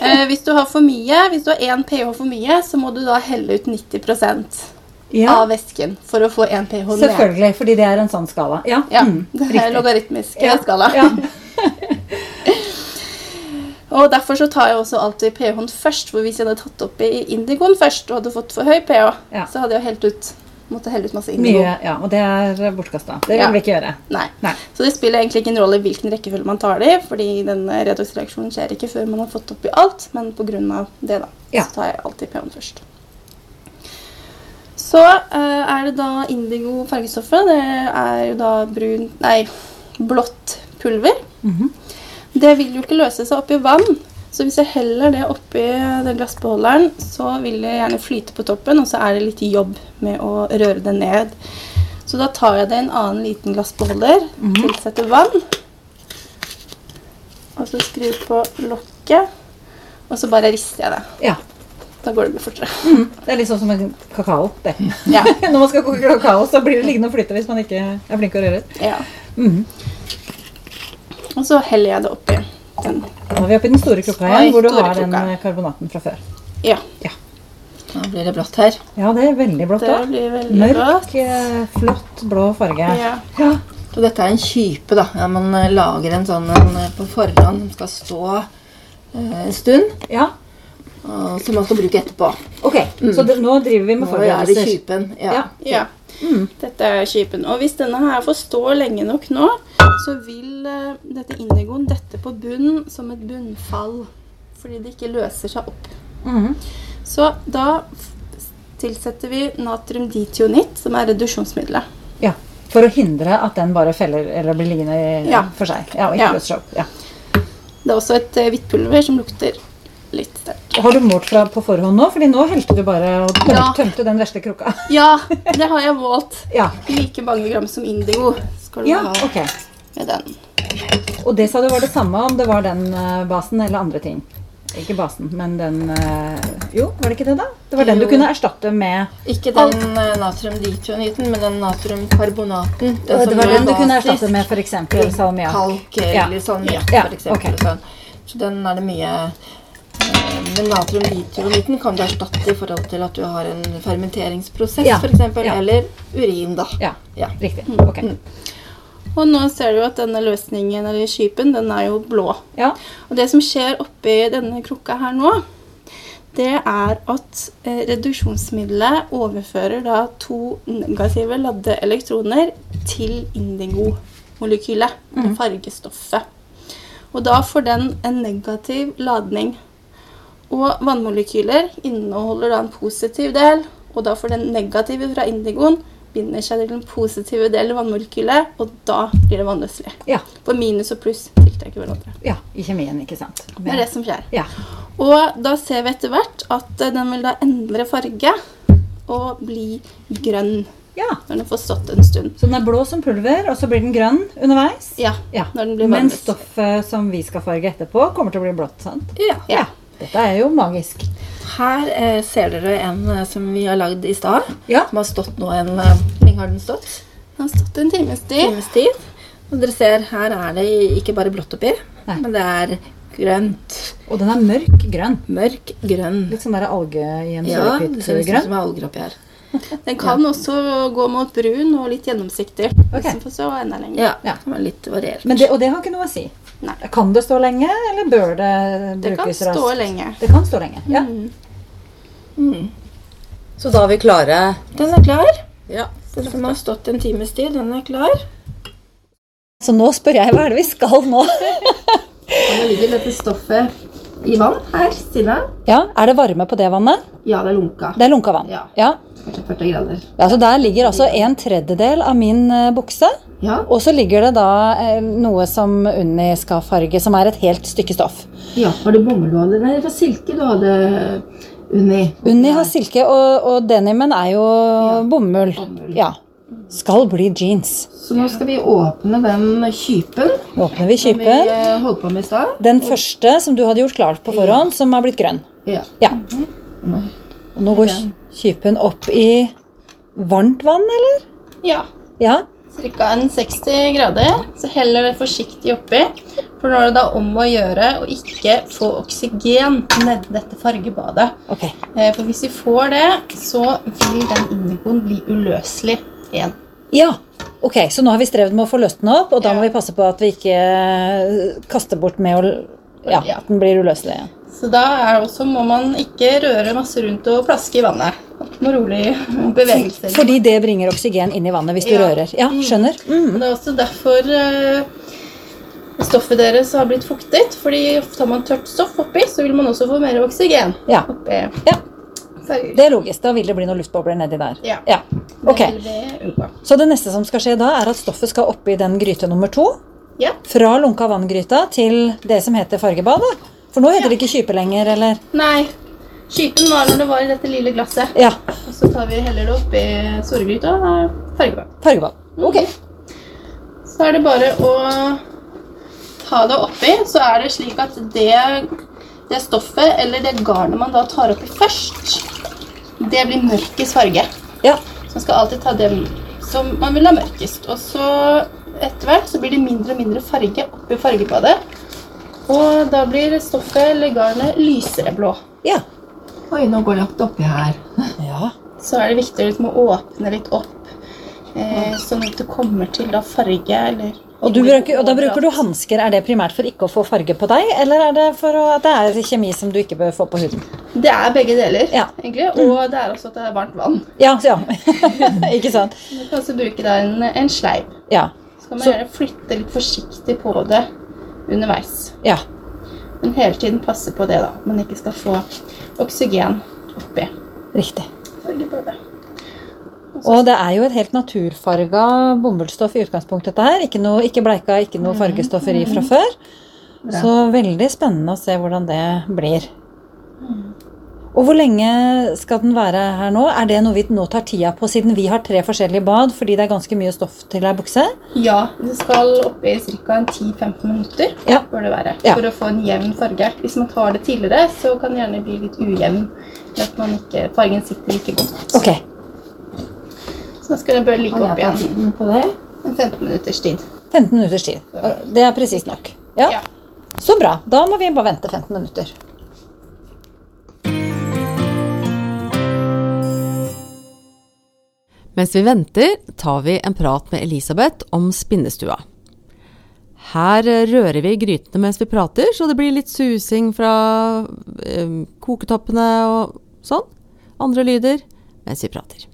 Speaker 3: eh, hvis du har for mye, hvis du har én pH for mye, så må du da helle ut 90
Speaker 2: ja.
Speaker 3: av væsken for å få én pH ned.
Speaker 2: Selvfølgelig, fordi det er en sånn skala. Ja.
Speaker 3: Ja,
Speaker 2: Mm,
Speaker 3: det er
Speaker 2: riktig.
Speaker 3: logaritmisk
Speaker 2: Ja,
Speaker 3: skala.
Speaker 2: Ja.
Speaker 3: Og derfor så tar jeg også alltid pH-en først, for hvis jeg hadde tatt opp i indigoen først og hadde fått for høy pH,
Speaker 2: Ja.
Speaker 3: så hadde jeg jo helt ut Måtte helle ut masse indigo.
Speaker 2: Mye, ja. Og det er bortkasta. Det vil
Speaker 3: Ja.
Speaker 2: vi ikke gjøre.
Speaker 3: Nei.
Speaker 2: Nei.
Speaker 3: Så det spiller egentlig ikke en rolle hvilken rekkefølge man tar det i, fordi denne redoksreaksjonen skjer ikke før man har fått oppi alt, men pga. det, da,
Speaker 2: Ja.
Speaker 3: så tar jeg alltid pH-en først. Så eh, er det da indigo fargestoffet. Det er jo da brun Nei, blått pulver.
Speaker 2: Mhm.
Speaker 3: Det vil jo ikke løse seg oppi vann, så hvis jeg heller det oppi den glassbeholderen, så vil det gjerne flyte på toppen, og så er det litt jobb med å røre det ned. Så da tar jeg det i en annen liten glassbeholder,
Speaker 2: Mhm.
Speaker 3: tilsetter vann, og så skrur på lokket, og så bare rister jeg det.
Speaker 2: Ja.
Speaker 3: Da går det mye fortere.
Speaker 2: Det er litt sånn som en kakao. Det.
Speaker 3: Ja.
Speaker 2: Når man skal koke kakao, så blir det liggende og flyte hvis man ikke er flink til å røre.
Speaker 3: Ja.
Speaker 2: Mhm.
Speaker 3: Og så heller jeg det oppi den.
Speaker 2: Da er vi oppe i den store klokka
Speaker 3: Oi,
Speaker 2: igjen, hvor du
Speaker 3: store
Speaker 2: har den
Speaker 3: klokka.
Speaker 2: eh, karbonaten fra før.
Speaker 3: Ja,
Speaker 4: Da blir det blått her.
Speaker 2: Ja, det er veldig blått
Speaker 3: det
Speaker 2: da.
Speaker 3: blir veldig bra.
Speaker 2: Mørk, eh, flott blå farge.
Speaker 3: Ja.
Speaker 2: Ja.
Speaker 4: Så dette er en kype, da. Ja, man eh, lager en sånn en, eh, på forhånd som skal stå eh, en stund,
Speaker 2: ja.
Speaker 4: og som man skal bruke etterpå.
Speaker 2: Ok,
Speaker 3: Mm.
Speaker 2: så det, nå driver vi med
Speaker 4: Nå er det
Speaker 2: forberedelser.
Speaker 4: kypen.
Speaker 2: Ja.
Speaker 4: Ja.
Speaker 3: Ja. Mm. Dette er skipen. Og hvis denne her får stå lenge nok nå, så vil eh, dette indigoen dette på bunnen som et bunnfall. Fordi det ikke løser seg opp.
Speaker 2: Mhm.
Speaker 3: Så da f- tilsetter vi natriumditionitt, som er reduksjonsmiddelet.
Speaker 2: Ja, For å hindre at den bare feller eller blir liggende i-
Speaker 3: Ja.
Speaker 2: for seg. Ja, og ikke
Speaker 3: Ja.
Speaker 2: løser seg opp. Ja.
Speaker 3: Det er også et eh, hvitt pulver som lukter litt sterkt.
Speaker 2: Og Har du målt fra på forhånd nå? Fordi nå helte du bare og tøm,
Speaker 3: Ja.
Speaker 2: tømte den vesle krukka.
Speaker 3: Ja, det har jeg målt.
Speaker 2: Ja.
Speaker 3: Like mange gram som indigo skal du
Speaker 2: ja,
Speaker 3: ha
Speaker 2: ok.
Speaker 3: med den.
Speaker 2: Og det sa du var det samme om det var den eh, basen eller andre ting. Ikke basen, men den eh, Jo, var det ikke det, da? Det var den du
Speaker 4: Jo.
Speaker 2: kunne erstatte med
Speaker 4: Ikke den eh, natriumditroniten, men den natriumkarbonaten.
Speaker 2: Det,
Speaker 4: som
Speaker 2: var
Speaker 4: går
Speaker 2: den du kunne
Speaker 4: basisk.
Speaker 2: erstatte med f.eks. salmiakk.
Speaker 4: kalk
Speaker 2: Ja.
Speaker 4: eller salmiakk,
Speaker 2: Ja,
Speaker 4: for eksempel.
Speaker 2: ok.
Speaker 4: og Sånn. Så den er det mye eh, Men natriumditroniten kan du erstatte i forhold til at du har en fermenteringsprosess,
Speaker 2: Ja,
Speaker 4: for eksempel,
Speaker 2: ja.
Speaker 4: Eller urin, da.
Speaker 2: Ja,
Speaker 4: Ja. Mm.
Speaker 2: riktig. Ok.
Speaker 3: Og nå ser du at denne løsningen, eller skipen, den er jo blå.
Speaker 2: Ja.
Speaker 3: Og det som skjer oppi denne krukka her nå, det er at eh, reduksjonsmiddelet overfører da to negative ladde elektroner til indigo-molekylet, det fargestoffet. Og da får den en negativ ladning. Og vannmolekyler inneholder da en positiv del, og da får den negative fra indigoen binder seg til den positive delen av vannmolekylet, og da blir det vannløselig.
Speaker 2: Ja,
Speaker 3: For minus og pluss tiltrekker hverandre.
Speaker 2: ja. I kjemien, ikke sant.
Speaker 3: Det er det som skjer.
Speaker 2: Ja.
Speaker 3: Og da ser vi etter hvert at eh, den vil da endre farge og bli grønn
Speaker 2: ja.
Speaker 3: når den får stått en stund.
Speaker 2: Så den er blå som pulver, og så blir den grønn underveis.
Speaker 3: Ja,
Speaker 2: Ja.
Speaker 3: når den blir
Speaker 2: Men
Speaker 3: varmet.
Speaker 2: stoffet som vi skal farge etterpå, kommer til å bli blått. sant?
Speaker 4: Ja.
Speaker 3: Ja.
Speaker 2: Dette er jo magisk.
Speaker 4: Her eh, ser dere en eh, som vi har lagd i stad.
Speaker 2: Ja.
Speaker 4: Som har stått nå en eh, Hvor lenge har den stått?
Speaker 3: Den har stått en times tid.
Speaker 4: Times tid. Og dere ser, her er det ikke bare blått oppi,
Speaker 2: Nei.
Speaker 4: men det er grønt.
Speaker 2: Og den er mørk grønn.
Speaker 4: Mørk grønn.
Speaker 2: Litt sånn der alge i en
Speaker 4: Ja, det ser ut
Speaker 2: sørepytt-grønn.
Speaker 4: som alger oppi her.
Speaker 3: Den kan også gå mot brun og litt gjennomsiktig.
Speaker 2: Ok.
Speaker 3: Hvis den får stå enda lenger.
Speaker 4: Ja,
Speaker 2: Ja.
Speaker 4: det var litt variert.
Speaker 2: Men det, og det har ikke noe å si.
Speaker 3: Nei.
Speaker 2: Kan det stå lenge, eller bør det
Speaker 3: Det kan
Speaker 2: brukes raskt?
Speaker 3: stå lenge. Mm.
Speaker 2: Det kan stå lenge, ja.
Speaker 5: Så da er vi klare.
Speaker 4: Den er klar.
Speaker 5: Ja.
Speaker 4: Den som har stått en times tid, den er klar.
Speaker 2: Så nå spør jeg hva er det vi skal nå?
Speaker 4: Og Nå ligger dette stoffet i vann her, stille.
Speaker 2: Ja, Er det varme på det vannet?
Speaker 4: Ja, det er lunka.
Speaker 2: Det er lunka vann.
Speaker 4: Ja.
Speaker 2: ja.
Speaker 4: Kanskje 40 grader.
Speaker 2: Ja, så Der ligger altså en tredjedel av min eh, bukse.
Speaker 4: Ja.
Speaker 2: Og så ligger det da eh, noe som Unni skal farge, som er et helt stykke stoff.
Speaker 4: ja. Var det bomull du hadde? Nei, det var silke du hadde Unni.
Speaker 2: Unni har silke, og, og denimen er jo bomull.
Speaker 4: Bomull.
Speaker 2: Ja. Skal bli jeans.
Speaker 4: Så nå skal vi åpne den kypen
Speaker 2: Nå åpner vi
Speaker 4: som vi
Speaker 2: kypen.
Speaker 4: eh, holdt på med i stad.
Speaker 2: Den første som du hadde gjort klart på forhånd, som har blitt grønn.
Speaker 4: Ja.
Speaker 2: Ja. Og nå går kypen opp i varmt vann, eller?
Speaker 3: Ja.
Speaker 2: Ja.
Speaker 3: Cirka en 60 grader, så heller det forsiktig oppi. For nå er det da om å gjøre å ikke få oksygen nedi dette fargebadet.
Speaker 2: Ok.
Speaker 3: Eh, For hvis vi får det, så vil den indigoen bli uløselig igjen.
Speaker 2: Ja, ok, Så nå har vi strevd med å få løst den opp, og da må vi passe på at vi ikke eh, kaster bort med å Ja,
Speaker 3: Ja.
Speaker 2: at den blir uløselig igjen.
Speaker 3: Så da er også, må man ikke røre masse rundt og plaske i vannet. Det må rolig bevegelser.
Speaker 2: Fordi det bringer oksygen inn i vannet hvis du
Speaker 3: Ja.
Speaker 2: rører. Ja, skjønner. Mm.
Speaker 3: Det er også derfor eh, stoffet deres har blitt fuktet. fordi tar man tørt stoff oppi, så vil man også få mer oksygen.
Speaker 2: Ja.
Speaker 3: oppi
Speaker 2: ja.
Speaker 3: farger.
Speaker 2: Det er logisk. Da vil det bli noen luftbobler nedi der.
Speaker 3: Ja.
Speaker 2: ja. Ok.
Speaker 3: Det vil vi unngå.
Speaker 2: Så det neste som skal skje da, er at stoffet skal oppi den gryte nummer to.
Speaker 3: Ja.
Speaker 2: Fra lunka vanngryta til det som heter fargebad. da. For nå heter det ikke kype lenger, eller?
Speaker 3: Nei. Skypen var når det var i dette lille glasset.
Speaker 2: Ja,
Speaker 3: Og så tar vi heller det oppi såregryta. og da er Fargebad.
Speaker 2: fargebad. Ok.
Speaker 3: Mhm. Så er det bare å ta det oppi. Så er det slik at det, det stoffet, eller det garnet man da tar oppi først, det blir mørkest farge.
Speaker 2: Ja.
Speaker 3: Så man skal alltid ta det som man vil ha mørkest. Og så etter hvert så blir det mindre og mindre farge oppi fargebadet. Og da blir stoffet eller garnet lysere blå.
Speaker 2: Ja.
Speaker 4: Oi, nå går det opp oppi her.
Speaker 2: ja.
Speaker 3: Så er det viktig å liksom å åpne litt opp, eh, sånn at det kommer til da farge eller
Speaker 2: Og, du bruker, og da bruker du hansker. Er det primært for ikke å få farge på deg, eller er det for å, at det er kjemi som du ikke bør få på huden?
Speaker 3: Det er begge deler,
Speaker 2: Ja. Mm.
Speaker 3: egentlig. Og det er også at det er varmt vann.
Speaker 2: Ja, så ja. ikke sant?
Speaker 3: Du kan også bruke da en, en sleiv.
Speaker 2: Ja.
Speaker 3: Så kan man
Speaker 2: Så-
Speaker 3: gjerne flytte litt forsiktig på det underveis.
Speaker 2: ja.
Speaker 3: Men hele tiden passe på det, da. at Man ikke skal få oksygen oppi
Speaker 2: Riktig.
Speaker 3: fargebadet.
Speaker 2: Og det er jo et helt naturfarga bomullsstoff i utgangspunktet, dette her. Ikke noe ikke bleika, ikke noe fargestoffer i fra før. Så veldig spennende å se hvordan det blir. Og hvor lenge skal den være her nå? Er det noe vi nå tar tida på, siden vi har tre forskjellige bad fordi det er ganske mye stoff til ei bukse?
Speaker 3: Ja, det skal oppi ca. 10-15 minutter.
Speaker 2: Ja.
Speaker 3: bør det være,
Speaker 2: Ja.
Speaker 3: For å få en jevn farge. Hvis man tar det tidligere, så kan det gjerne bli litt ujevn. ved At man ikke, fargen sitter like godt.
Speaker 2: Ok.
Speaker 3: Så da skal det bør ligge
Speaker 4: Kan jeg
Speaker 3: opp
Speaker 4: ta
Speaker 3: igjen
Speaker 4: tiden på det?
Speaker 3: en 15 minutters tid.
Speaker 2: 15 minutters tid. Og Det er presis nok. Ja.
Speaker 3: Ja.
Speaker 2: Så bra. Da må vi bare vente 15 minutter.
Speaker 1: Mens vi venter, tar vi en prat med Elisabeth om spinnestua. Her eh, rører vi i grytene mens vi prater, så det blir litt susing fra eh, koketoppene og sånn. Andre lyder mens vi prater.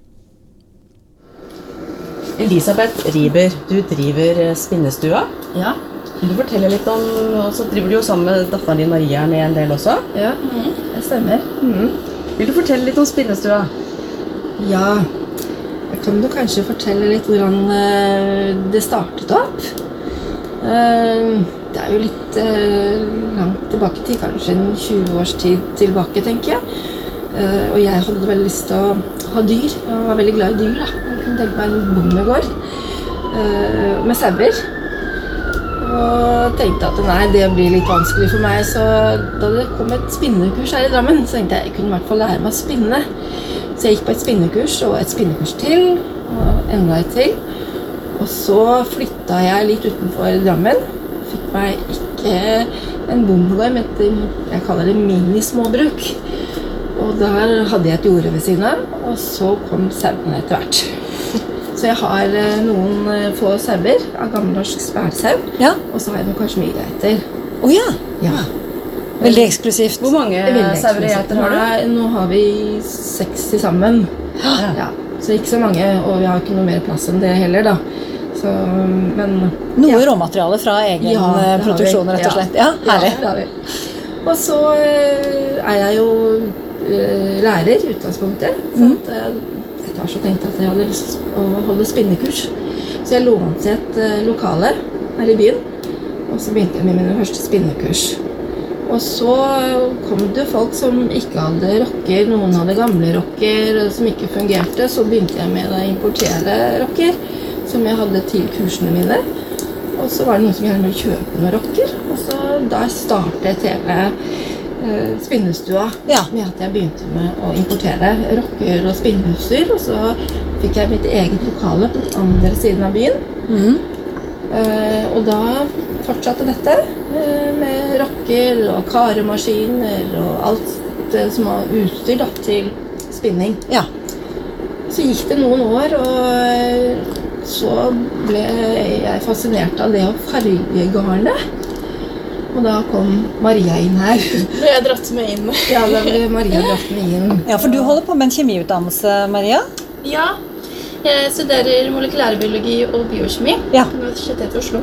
Speaker 1: Elisabeth Riiber, du driver eh, spinnestua.
Speaker 4: Ja.
Speaker 1: Vil du fortelle litt om Og så driver du jo sammen med datteren din Maria ned en del også.
Speaker 4: Ja, det stemmer.
Speaker 1: Vil du fortelle litt om spinnestua?
Speaker 4: Ja, jeg kan du kanskje fortelle litt hvordan eh, det startet opp? Eh, Det er jo litt eh, langt tilbake i tid, kanskje en 20 års tid tilbake, tenker jeg. Eh, Og jeg hadde veldig lyst til å ha dyr, og var veldig glad i dyr. da. Jeg kunne tenke meg en bondegård eh, med sauer. Og tenkte at nei, det blir litt vanskelig for meg. Så da det kom et spinnekurs her i Drammen, så tenkte jeg jeg kunne i hvert fall lære meg å spinne. Så jeg gikk på et spinnekurs og et spinnekurs til og enda et til. Og så flytta jeg litt utenfor Drammen. Fikk meg ikke en bondegård, men et jeg kaller det minismåbruk. Og der hadde jeg et jorde ved siden av, og så kom sauene etter hvert. Så jeg har eh, noen eh, få sauer av gammelnorsk spærsau.
Speaker 2: Ja.
Speaker 4: Og så har jeg noen kasjmirgeiter.
Speaker 2: Å ja.
Speaker 4: Ja.
Speaker 2: Veldig eksklusivt.
Speaker 5: Hvor mange
Speaker 4: Eh,
Speaker 5: sauer og geiter har du?
Speaker 4: Nå har vi 60 sammen. Ja. Så ikke så mange, og vi har ikke noe mer plass enn det heller, da. Så, mm, men
Speaker 2: Noe råmateriale fra egen
Speaker 4: Ja,
Speaker 2: eh,
Speaker 4: det har vi.
Speaker 2: produksjon, rett og
Speaker 4: Ja.
Speaker 2: slett. Ja, herlig.
Speaker 4: Ja, det har vi. Og så eh, er jeg jo eh, lærer i utgangspunktet. Så at, eh, etter hvert så tenkte jeg at jeg hadde lyst å holde spinnekurs. Så jeg lånte et eh, lokale her i byen, og så begynte jeg med mine første spinnekurs. Og så kom det folk som ikke hadde rocker, noen hadde gamle rocker eh, som ikke fungerte. Så begynte jeg med å importere rocker, som jeg hadde til kursene mine. Og så var det noen som gjerne ville kjøpe noen rocker. Og så da startet hele eh, spinnestua
Speaker 2: Ja.
Speaker 4: med at jeg begynte med å importere rocker og spinneutstyr. Og så fikk jeg mitt eget lokale på den andre siden av byen.
Speaker 2: Mm-hmm.
Speaker 4: Eh, og da fortsatte dette eh, med rocker og karemaskiner og alt eh, som var utstyr da, til spinning.
Speaker 2: Ja.
Speaker 4: Så gikk det noen år, og eh, så ble jeg fascinert av det å farge garnet. Og da kom Maria inn her.
Speaker 3: Ble jeg dratt med inn?
Speaker 4: Ja, da ble Maria dratt med inn.
Speaker 2: ja, for du holder på med en kjemiutdannelse, Maria.
Speaker 3: Ja. Jeg studerer molekylærbiologi og biokjemi
Speaker 2: Ja.
Speaker 3: på Universitetet i Oslo.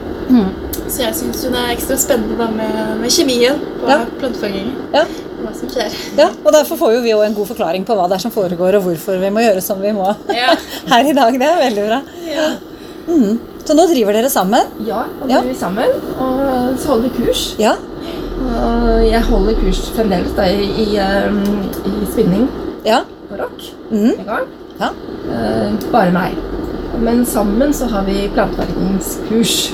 Speaker 3: Så jeg syns jo det er ekstra spennende da med, med kjemien og
Speaker 2: Ja.
Speaker 3: plantefangingen.
Speaker 2: Ja.
Speaker 3: og Hva som skjer.
Speaker 2: Ja, og Derfor får jo vi jo en god forklaring på hva det er som foregår, og hvorfor vi må gjøre som vi må
Speaker 3: Ja.
Speaker 2: her i dag. Det er veldig bra. Mm. Så nå driver dere sammen?
Speaker 4: Ja, og
Speaker 2: Ja.
Speaker 4: da er vi sammen og så holder vi kurs.
Speaker 2: Ja.
Speaker 4: Og jeg holder kurs fremdeles da, i, i, eh, i spinning
Speaker 2: Ja.
Speaker 4: på rock.
Speaker 2: Mm.
Speaker 4: i gang.
Speaker 2: Ja.
Speaker 4: Eh, bare meg. Men sammen så har vi planteverkningskurs.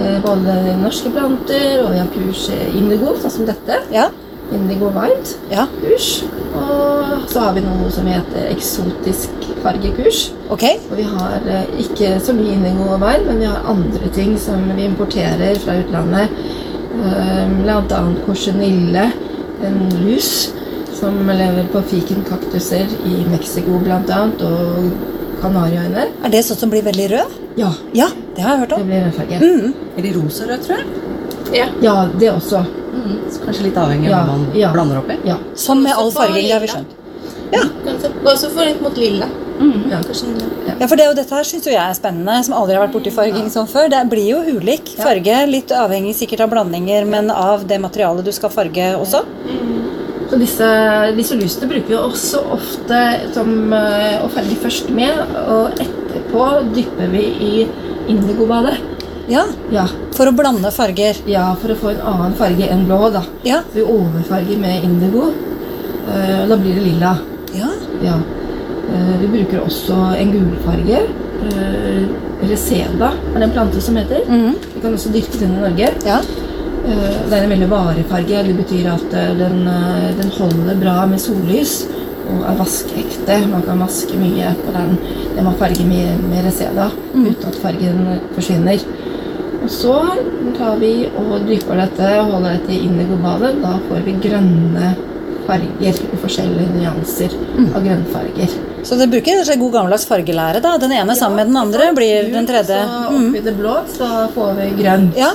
Speaker 4: Eh, både norske planter, og vi har kurs eh, indigo, sånn som dette.
Speaker 2: Ja.
Speaker 4: Indigo Wild
Speaker 2: Ja.
Speaker 4: kurs. Og så har vi noe som heter eksotisk fargekurs.
Speaker 2: Ok.
Speaker 4: Og vi har eh, ikke så mye indigo og wild, men vi har andre ting som vi importerer fra utlandet. Eh, Blant annet korsenille, en lus som lever på fikenkaktuser i Mexico blant annet, og Kanariøyene.
Speaker 2: Er det sånn som blir veldig rød?
Speaker 4: Ja,
Speaker 2: Ja, det har jeg hørt
Speaker 4: det
Speaker 2: om.
Speaker 4: blir rødfarge.
Speaker 5: Eller rosa rød, tror jeg.
Speaker 4: Ja, det også.
Speaker 5: Så kanskje litt avhengig av
Speaker 4: Ja,
Speaker 5: hva man
Speaker 4: ja.
Speaker 5: blander oppi.
Speaker 4: Ja.
Speaker 2: Som Sånn med all
Speaker 3: Også for
Speaker 2: farging, det har vi
Speaker 3: lilla.
Speaker 2: skjønt.
Speaker 3: Går også for litt mot lilla.
Speaker 2: Mm.
Speaker 4: ja.
Speaker 3: Kanskje en-
Speaker 2: Ja, for det er jo dette her syns jo jeg er spennende, som aldri har vært borti farging sånn før. Det blir jo ulik farge, litt avhengig sikkert av blandinger, men av det materialet du skal farge også.
Speaker 4: Så disse, disse lysene bruker vi også ofte som eh, å farge først med, og etterpå dypper vi i indigobadet.
Speaker 2: Ja,
Speaker 4: Ja,
Speaker 2: for å blande farger.
Speaker 4: ja, for å få en annen farge enn blå, da.
Speaker 2: Ja.
Speaker 4: Vi overfarger med indigo, eh, og da blir det lilla.
Speaker 2: Ja.
Speaker 4: Ja. Eh, Vi bruker også en gulfarge. eh, Reseda er det en plante som heter.
Speaker 2: Mhm.
Speaker 4: Vi kan også dyrke den i Norge.
Speaker 2: Ja.
Speaker 4: Eh, Det er en veldig varig farge. Det betyr at eh, den, eh, den holder bra med sollys og er vaskeekte. Man kan vaske mye på den. Den man farger med, med reseda
Speaker 2: Mm.
Speaker 4: uten at fargen forsvinner. Og så tar vi og dypper dette og holder dette i indigobadet. Da får vi grønne farger og forskjellige nyanser
Speaker 2: Mm.
Speaker 4: av grønnfarger.
Speaker 2: Så det bruker en god gammeldags fargelære, da. Den ene sammen med den andre blir den tredje.
Speaker 4: Så
Speaker 2: Mm.
Speaker 4: oppi det blå så får vi grønt.
Speaker 2: Ja.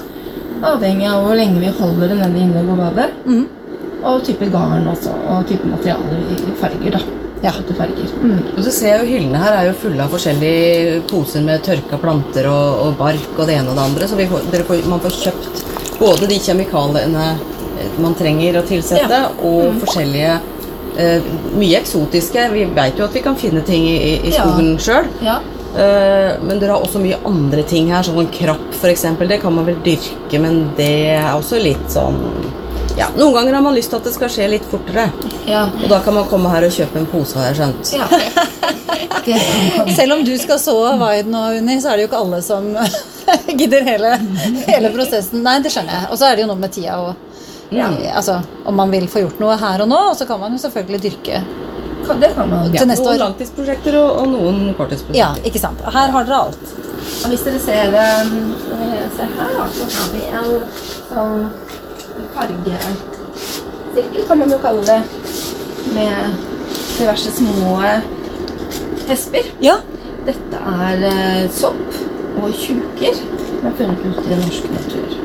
Speaker 4: Avhengig av hvor lenge vi holder det nede inne på badet.
Speaker 2: Mhm.
Speaker 4: Og type garn også, og type materialer i farger, da. Ja. Farger.
Speaker 1: Mm.
Speaker 5: Og så ser jeg jo Hyllene her er jo fulle av forskjellige poser med tørka planter og, og bark og det ene og det andre. Så vi får, dere får, man får kjøpt både de kjemikaliene eh, man trenger å tilsette, og
Speaker 4: Mm.
Speaker 5: forskjellige eh, Mye eksotiske. Vi veit jo at vi kan finne ting i, i- i
Speaker 4: Ja.
Speaker 5: skogen sjøl.
Speaker 4: Ja.
Speaker 5: men dere har også mye andre ting her, sånn som krapp f.eks. Det kan man vel dyrke, men det er også litt sånn ja, Noen ganger har man lyst til at det skal skje litt fortere.
Speaker 4: ja.
Speaker 5: Og da kan man komme her og kjøpe en pose, har jeg skjønt.
Speaker 4: ja. Det kan man.
Speaker 2: Selv om du skal så Widen og Unni, så er det jo ikke alle som gidder hele, hele prosessen. Nei, det skjønner jeg. Og så er det jo noe med tida og Altså, om man vil få gjort noe her og nå, og så kan man jo selvfølgelig dyrke
Speaker 4: Kan- Det kan man jo.
Speaker 2: til neste
Speaker 5: noen
Speaker 2: år.
Speaker 5: langtidsprosjekter og, og noen korttidsprosjekter.
Speaker 2: Ja, ikke sant. Her har dere alt.
Speaker 4: Og hvis dere ser, eh, se her, da, så har vi en sånn fargesirkel, kan man jo kalle det, med diverse små hesper.
Speaker 2: Ja.
Speaker 4: Dette er eh, sopp og tjuker som er funnet ut i norsk natur.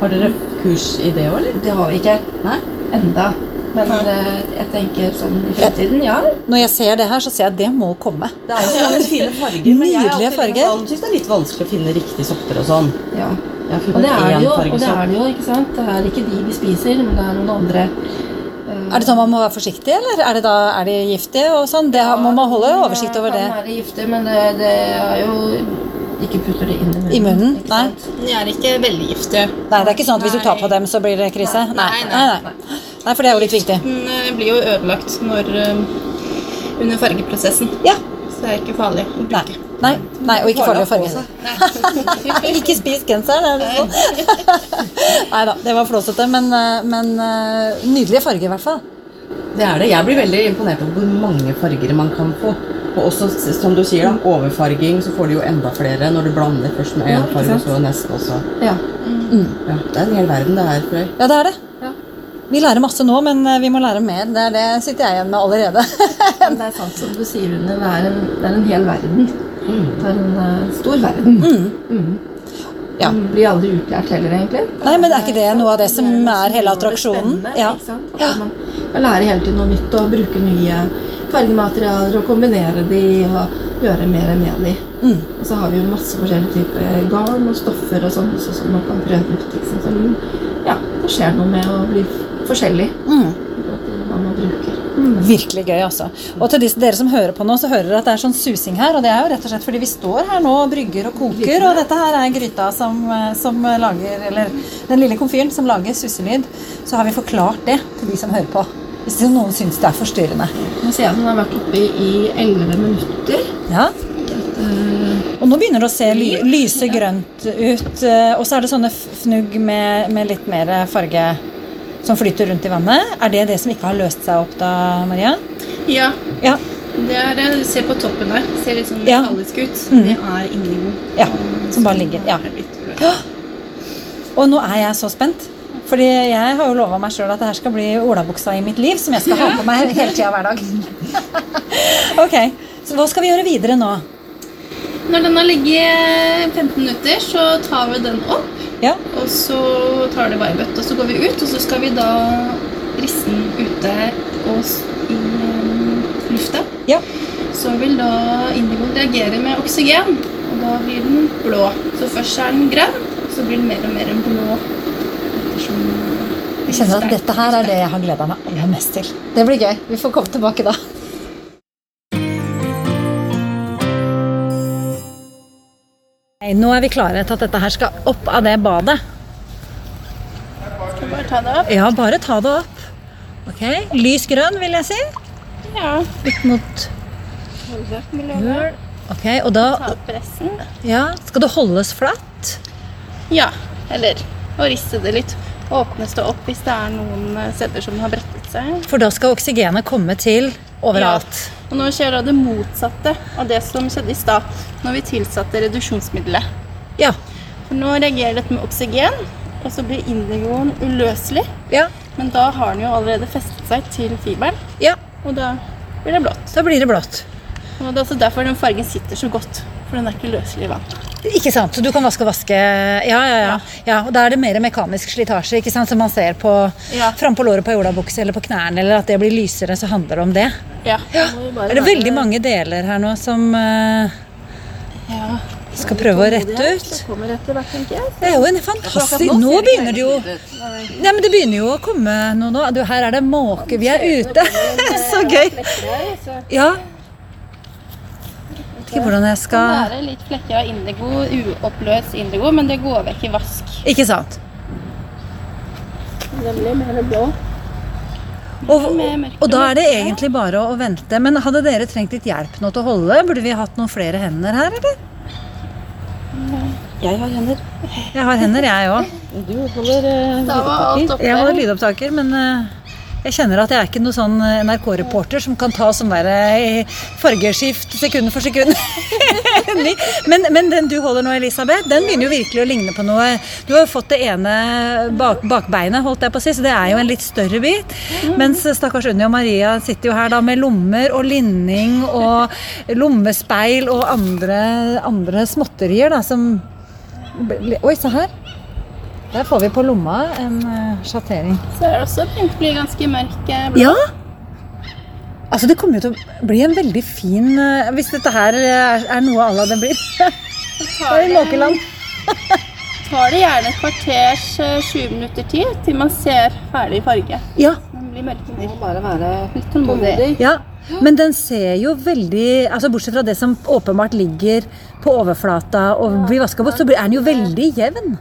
Speaker 5: Har dere kurs i det òg, eller?
Speaker 4: Det har vi ikke
Speaker 5: Nei.
Speaker 4: enda, men eh, jeg tenker sånn i fremtiden, ja.
Speaker 2: Når jeg ser det her, så ser jeg at det må komme.
Speaker 5: Det er jo så mange fine farger. men jeg er
Speaker 2: Nydelige
Speaker 5: alltid litt
Speaker 2: farger.
Speaker 5: sånn- synes det er litt vanskelig å finne riktige sokker og sånn.
Speaker 4: ja.
Speaker 1: Jeg har
Speaker 4: Og det
Speaker 1: funnet
Speaker 4: er det
Speaker 1: én
Speaker 4: jo, og det
Speaker 1: fargestopp.
Speaker 4: er det jo, ikke sant? Det er ikke de vi spiser, men det er noen andre.
Speaker 2: Er det sånn man må være forsiktig, eller er, det da, er de giftige og sånn? Det har, må man holde oversikt over det
Speaker 4: Kan være gifte, men det, det er jo Ikke putter det inn i munnen.
Speaker 2: i munnen?
Speaker 4: ikke
Speaker 2: Nei.
Speaker 4: sant?
Speaker 3: De er ikke veldig giftige.
Speaker 2: nei, det er ikke sånn at hvis du tar på dem, så blir det krise? Nei,
Speaker 3: Nei,
Speaker 2: nei,
Speaker 3: nei,
Speaker 2: nei. nei for det er jo litt viktig.
Speaker 3: Den eh, blir jo ødelagt når, eh, under fargeprosessen.
Speaker 2: Ja.
Speaker 3: Så det er ikke farlig å
Speaker 2: Nei,
Speaker 3: bruke.
Speaker 2: nei, nei og ikke farlig å
Speaker 1: Farlig å
Speaker 2: farge. ikke spis genser, det er det sånn. nei da, det var flåsete, men, eh, men eh, nydelige farger i hvert fall.
Speaker 1: Det er det. Jeg blir veldig imponert over hvor mange farger man kan få. Og også, s- som du sier, da, overfarging, så får du jo enda flere når du blander først med én farge, og så neste også.
Speaker 4: Ja.
Speaker 1: Ja, det er en hel verden det her, Frøy.
Speaker 2: Ja, det er det. Vi lærer masse nå, men eh, vi må lære mer. Det er det sitter jeg igjen med allerede.
Speaker 4: Men det er sant som du sier, Rune. Det er en, det er en hel verden. Det er en eh, stor verden. Mm.
Speaker 2: Ja.
Speaker 4: Den blir aldri utlært heller, egentlig.
Speaker 2: Nei, men er ikke det noe av det som er hele
Speaker 4: Eh, Det
Speaker 2: attraksjonen?
Speaker 4: spennende,
Speaker 2: Ja.
Speaker 4: ikke sant? At Man, man lærer hele tiden noe nytt og bruker nye fargematerialer og kombinere de og gjøre mer med de.
Speaker 2: Mm.
Speaker 4: Og så har vi jo masse forskjellige typer garn og stoffer og sånn også som man kan prøve ut. Ikke sant? Så, mm, ja, det skjer noe med å bli f- forskjellig
Speaker 2: Mm.
Speaker 4: i forhold til hva man bruker.
Speaker 2: Virkelig gøy, altså. Og til disse, dere som hører på nå, så hører dere at det er sånn susing her. Og det er jo rett og slett fordi vi står her nå og brygger og koker. Og dette her er gryta som, eh, som lager Eller den lille komfyren som lager suselyd. Så har vi forklart det til de som hører på. Hvis noen syns det er forstyrrende.
Speaker 4: Nå ser jeg at den har vært oppe i 11 minutter.
Speaker 2: Ja. Og nå begynner det å se ly lyse grønt ut. eh, Og så er det sånne f- fnugg med, med litt mer farge som flyter rundt i vannet. Er det det som ikke har løst seg opp da, Maria?
Speaker 3: Ja,
Speaker 2: Ja.
Speaker 3: det er, eh, se på toppen der. Ser litt sånn
Speaker 2: Ja.
Speaker 3: metallisk ut.
Speaker 2: Mm.
Speaker 3: Det er indigo.
Speaker 2: Ja, som bare ligger, ja.
Speaker 3: Er litt uløst.
Speaker 2: Og nå er jeg så spent. Fordi jeg har jo lova meg sjøl at det her skal bli olabuksa i mitt liv, som jeg skal ha på meg hele tida hver dag. ok, Så hva skal vi gjøre videre nå?
Speaker 3: Når den har ligget 15 minutter, så tar vi den opp.
Speaker 2: Ja.
Speaker 3: Og så tar det bare bøtt, og så går vi ut, og så skal vi da riste den ute og s- i um, lufta.
Speaker 2: Ja.
Speaker 3: Så vil da indigoen reagere med oksygen, og da blir den blå. Så først er den grønn, og så blir den mer og mer blå. Ettersom
Speaker 2: Jeg kjenner at dette her er det jeg har gleda meg aller mest til. Det blir gøy. Vi får komme tilbake da. Hei, Nå er vi klare til at dette her skal opp av det badet.
Speaker 3: Skal bare ta det opp.
Speaker 2: Ja, bare ta det opp. Ok, Lys grønn, vil jeg si.
Speaker 3: Ja.
Speaker 2: Ut mot høl. Ok, og
Speaker 3: Ta
Speaker 2: da
Speaker 3: opp resten.
Speaker 2: ja, skal det holdes flatt.
Speaker 3: Ja, eller å riste det litt. Åpnes det opp hvis det er noen eh, steder som har brettet seg.
Speaker 2: For da skal oksygenet komme til overalt.
Speaker 3: Og nå skjer da det motsatte av det som skjedde i stad, når vi tilsatte reduksjonsmiddelet.
Speaker 2: Ja.
Speaker 3: For nå reagerer dette med oksygen, og så blir indigoen uløselig.
Speaker 2: Ja.
Speaker 3: Men da har den jo allerede festet seg til fiberen,
Speaker 2: ja.
Speaker 3: og da blir det blått.
Speaker 2: Da blir det blått.
Speaker 3: Og det er også derfor den fargen sitter så godt, for den er ikke løselig i vann.
Speaker 2: Ikke sant. Så du kan vaske og vaske. Ja, ja, ja. ja og da er det mer mekanisk slitasje ikke sant, som man ser på
Speaker 3: Ja.
Speaker 2: frampå låret på olabukse eller på knærne, eller at det blir lysere, så handler det om det.
Speaker 3: Ja.
Speaker 2: Er det veldig mange deler her nå som eh,
Speaker 3: Ja.
Speaker 2: skal prøve å rette ut?
Speaker 3: Kommer etter hvert, tenker jeg.
Speaker 2: Det er jo en fantastisk Nå begynner det jo Nei, men Det begynner jo å komme noe nå. Du, her er det måke. Vi er ute. Så gøy. Ja. Vet ikke hvordan jeg
Speaker 3: Det
Speaker 2: skal
Speaker 3: er litt flekker av indigo, uoppløst indigo, men det går vekk i vask.
Speaker 2: Ikke sant?
Speaker 3: Det blir mer blå.
Speaker 2: Og, og da er det egentlig bare å vente. Men hadde dere trengt litt hjelp nå til å holde? Burde vi hatt noen flere hender her, eller? Jeg har hender. Jeg har hender, jeg òg.
Speaker 3: Da var alt oppe.
Speaker 2: Jeg holder lydopptaker, men eh, jeg kjenner at jeg er ikke noen sånn NRK-reporter som kan ta sånn der eh, fargeskift sekund for sekund. Ny. men, men den du holder nå, Elisabeth, den begynner jo virkelig å ligne på noe. Du har jo fått det ene bak, bakbeinet, holdt jeg på å si, så det er jo en litt større bit. Mens eh, stakkars Unni og Maria sitter jo her da med lommer og linning og lommespeil og andre, andre småtterier da, som Oi, se her. Der får vi på lomma en eh, sjattering.
Speaker 3: Så er det også begynt å bli ganske mørk eh, blå.
Speaker 2: Ja! Altså, det kommer jo til å bli en veldig fin eh, Hvis dette her eh, er, er noe à la det blir. Da er vi i Måkeland.
Speaker 3: tar det gjerne et kvarters eh, 20 minutter tid til man ser ferdig farge.
Speaker 2: Ja,
Speaker 3: Den blir
Speaker 4: Det
Speaker 3: mørkere.
Speaker 4: må bare være
Speaker 3: Litt tålmodig.
Speaker 2: ja. Men den ser jo veldig altså Bortsett fra det som åpenbart ligger på overflata og blir vaska bort, så blir- er den jo veldig jevn.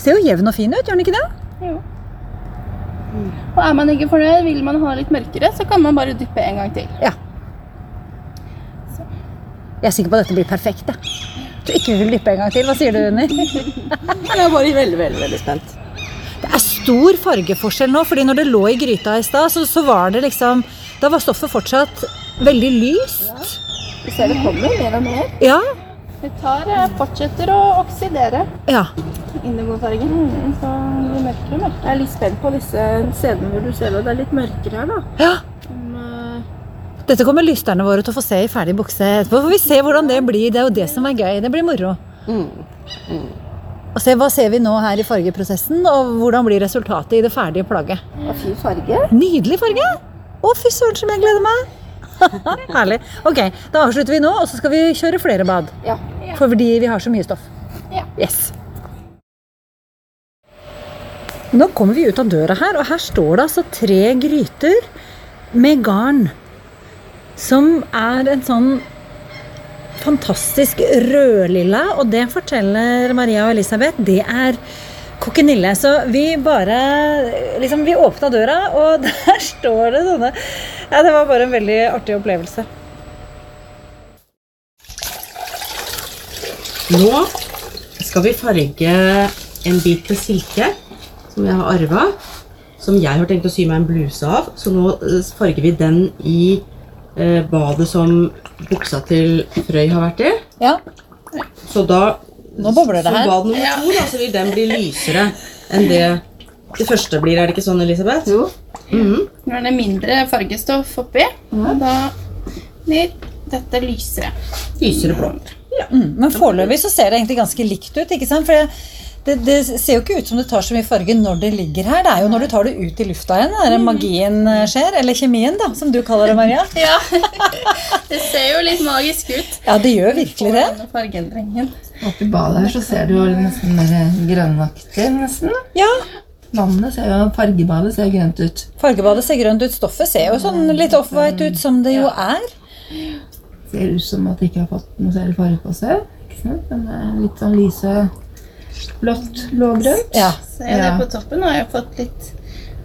Speaker 2: Ser jo jevn og fin ut, gjør den ikke det?
Speaker 3: Jo. Og er man ikke fornøyd, vil man ha litt mørkere, så kan man bare dyppe en gang til.
Speaker 2: Jeg er sikker på at dette blir perfekt. Jeg tror ikke vi vil dyppe en gang til. Hva sier du, Unni?
Speaker 1: Jeg er bare veldig, veldig, veldig spent.
Speaker 2: Det er stor fargeforskjell nå, fordi når det lå i gryta i stad, så, så var det liksom Da var stoffet fortsatt veldig lyst.
Speaker 3: Du ser det kommer mer og mer.
Speaker 2: Ja.
Speaker 3: Det tar, eh, fortsetter å oksidere
Speaker 2: ja.
Speaker 3: indigofargen. Så det blir mørkere og mørkere. Mm. Jeg er litt spent på disse stedene hvor du ser at det er litt mørkere her, da.
Speaker 2: ja.
Speaker 3: Om, eh,
Speaker 2: Dette kommer lysterne våre til å få se i ferdig bukse etterpå. Får vi se hvordan det blir. Det er jo det som er gøy. Det blir moro.
Speaker 1: Mm.
Speaker 2: Og se, Hva ser vi nå her i fargeprosessen, og hvordan blir resultatet i det ferdige plagget?
Speaker 4: og fin farge.
Speaker 2: Nydelig farge! Å, fy søren som jeg gleder meg! Herlig. Ok, da avslutter vi nå, og så skal vi kjøre flere bad.
Speaker 4: Ja.
Speaker 2: Fordi vi har så mye stoff.
Speaker 3: Ja.
Speaker 2: Yes. Nå kommer vi ut av døra her, og her står det altså tre gryter med garn. Som er en sånn fantastisk rødlilla, og det forteller Maria og Elisabeth, det er kokkenille. Så vi bare liksom, Vi åpna døra, og der står det sånne Ja, det var bare en veldig artig opplevelse.
Speaker 5: Nå skal vi farge en bit med silke som jeg har arva. Som jeg har tenkt å sy meg en bluse av. Så nå eh, farger vi den i eh, badet som buksa til Frøy har vært i.
Speaker 2: Ja.
Speaker 5: Så da
Speaker 2: Nå bobler det her.
Speaker 5: Så bad nummer to, da, så vil den bli lysere enn det det første blir. Er det ikke sånn, Elisabeth?
Speaker 4: Jo.
Speaker 5: Mhm.
Speaker 6: Nå er det mindre fargestoff oppi, og da blir dette lysere.
Speaker 5: Lysere blå.
Speaker 2: Mm, men foreløpig så ser det egentlig ganske likt ut, ikke sant? For det, det, det ser jo ikke ut som det tar så mye farge når det ligger her. Det er jo når du tar det ut i lufta igjen, der magien eh, skjer. Eller kjemien, da, som du kaller det, Maria.
Speaker 6: Ja, det ser jo litt magisk ut.
Speaker 2: Ja, det gjør virkelig det.
Speaker 6: Denne fargeendringen.
Speaker 4: Oppi badet her så ser du jo nesten mer grønnaktig, nesten.
Speaker 2: Ja,
Speaker 4: Vannet ser jo, fargebadet ser grønt ut.
Speaker 2: Fargebadet ser grønt ut. Stoffet ser jo sånn litt off-white ut, som det jo er.
Speaker 4: Ser ut som at det ikke har fått noe særlig farge på seg. Ikke sant? Den er litt sånn lyse blått, blågrønt.
Speaker 2: Ja,
Speaker 6: Ser jeg
Speaker 4: Ja.
Speaker 6: det på toppen? Nå har jeg fått litt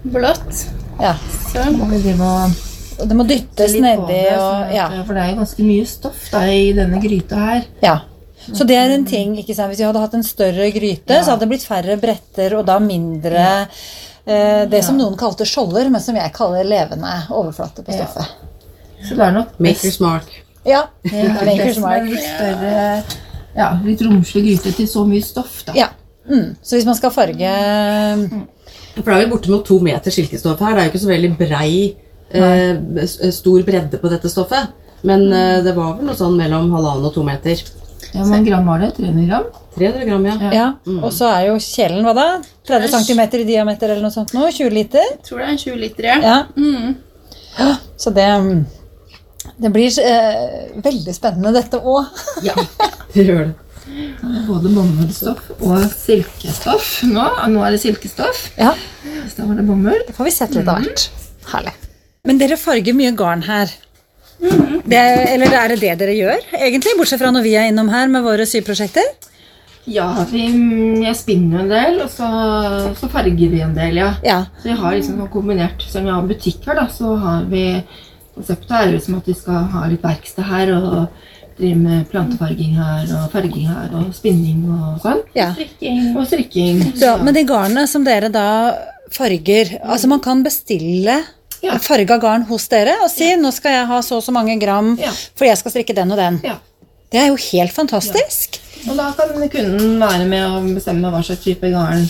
Speaker 6: blått.
Speaker 2: ja.
Speaker 6: Så
Speaker 4: Må vi drive og
Speaker 2: Og det må dyttes
Speaker 4: litt
Speaker 2: nedi
Speaker 4: på det, sånn
Speaker 2: og
Speaker 4: at-
Speaker 2: ja,
Speaker 4: For det er jo ganske mye stoff da, i denne gryta her.
Speaker 2: ja. Så det er en ting, ikke sant. Hvis vi hadde hatt en større gryte, så hadde det blitt færre bretter og da mindre eh, det som noen kalte skjolder, men som jeg kaller levende overflate på stoffet.
Speaker 4: Så det er nok
Speaker 5: Maker's mark.
Speaker 2: Ja.
Speaker 4: Det er
Speaker 2: Maker's
Speaker 4: best med
Speaker 2: mark.
Speaker 4: en litt større, ja, litt romslig gryte til så mye stoff, da.
Speaker 2: ja. Mm. Så hvis man skal farge
Speaker 4: Mm.
Speaker 5: For det er vel bortimot to meter silkestoff her. Det er jo ikke så veldig brei, eh, s- stor bredde på dette stoffet. Men eh, det var vel noe sånn mellom halvannen og to meter.
Speaker 4: Ja, men gram var det? 300 gram?
Speaker 5: 300 gram, ja.
Speaker 2: Ja.
Speaker 4: Mm.
Speaker 2: Og så er jo kjelen, hva da? 30 cm i diameter eller noe sånt nå? 20 liter?
Speaker 6: jeg tror det er en 20 liter, ja.
Speaker 2: Ja.
Speaker 6: Mm.
Speaker 2: Så det, mm, det blir eh, veldig spennende dette òg.
Speaker 5: ja. Det gjør det.
Speaker 4: Både bomullsstoff og silkestoff nå. og Nå er det silkestoff.
Speaker 2: Ja.
Speaker 4: I stad var det bomull.
Speaker 2: Det får vi sett litt av hvert. Mm. Herlig. Men dere farger mye garn her. Det er, eller er det det dere gjør, egentlig? Bortsett fra når vi er innom her med våre syprosjekter.
Speaker 4: Ja, vi, jeg spinner jo en del, og så, så farger vi en del, ja.
Speaker 2: Ja.
Speaker 4: Så vi har
Speaker 2: Mm.
Speaker 4: liksom noe kombinert. Selv om vi har butikk her, da, så har vi Konseptet er jo liksom at vi skal ha litt verksted her og drive med plantefarging her og farging her og spinning og sånn.
Speaker 2: ja.
Speaker 6: Strikking.
Speaker 4: Og strikking.
Speaker 2: Så, men de garnene som dere da farger Altså, man kan bestille
Speaker 4: Ja.
Speaker 2: farga garn hos dere og si 'nå skal jeg ha så og så mange gram,
Speaker 4: Ja.
Speaker 2: for jeg skal strikke den og den'.
Speaker 4: Ja.
Speaker 2: Det er jo helt fantastisk.
Speaker 4: Og da kan kunden være med og bestemme hva slags type garn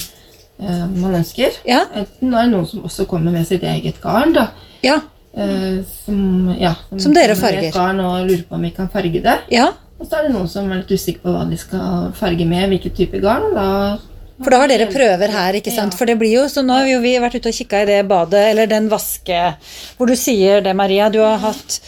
Speaker 4: eh, man ønsker.
Speaker 2: Ja.
Speaker 4: Enten er det noen som også kommer med sitt eget garn, da.
Speaker 2: Ja.
Speaker 4: eh, som, ja,
Speaker 2: Mm. Som dere
Speaker 4: kommer med
Speaker 2: farger.
Speaker 4: et Garn og lurer på om vi kan farge det.
Speaker 2: ja.
Speaker 4: Og så er det noen som er litt usikre på hva de skal farge med, hvilken type garn. og Da
Speaker 2: For da har dere prøver her, ikke sant?
Speaker 4: Ja.
Speaker 2: For det blir jo, så nå har vi jo vi vært ute og kikka i det badet, eller den vaske, hvor du sier det, Maria, du har hatt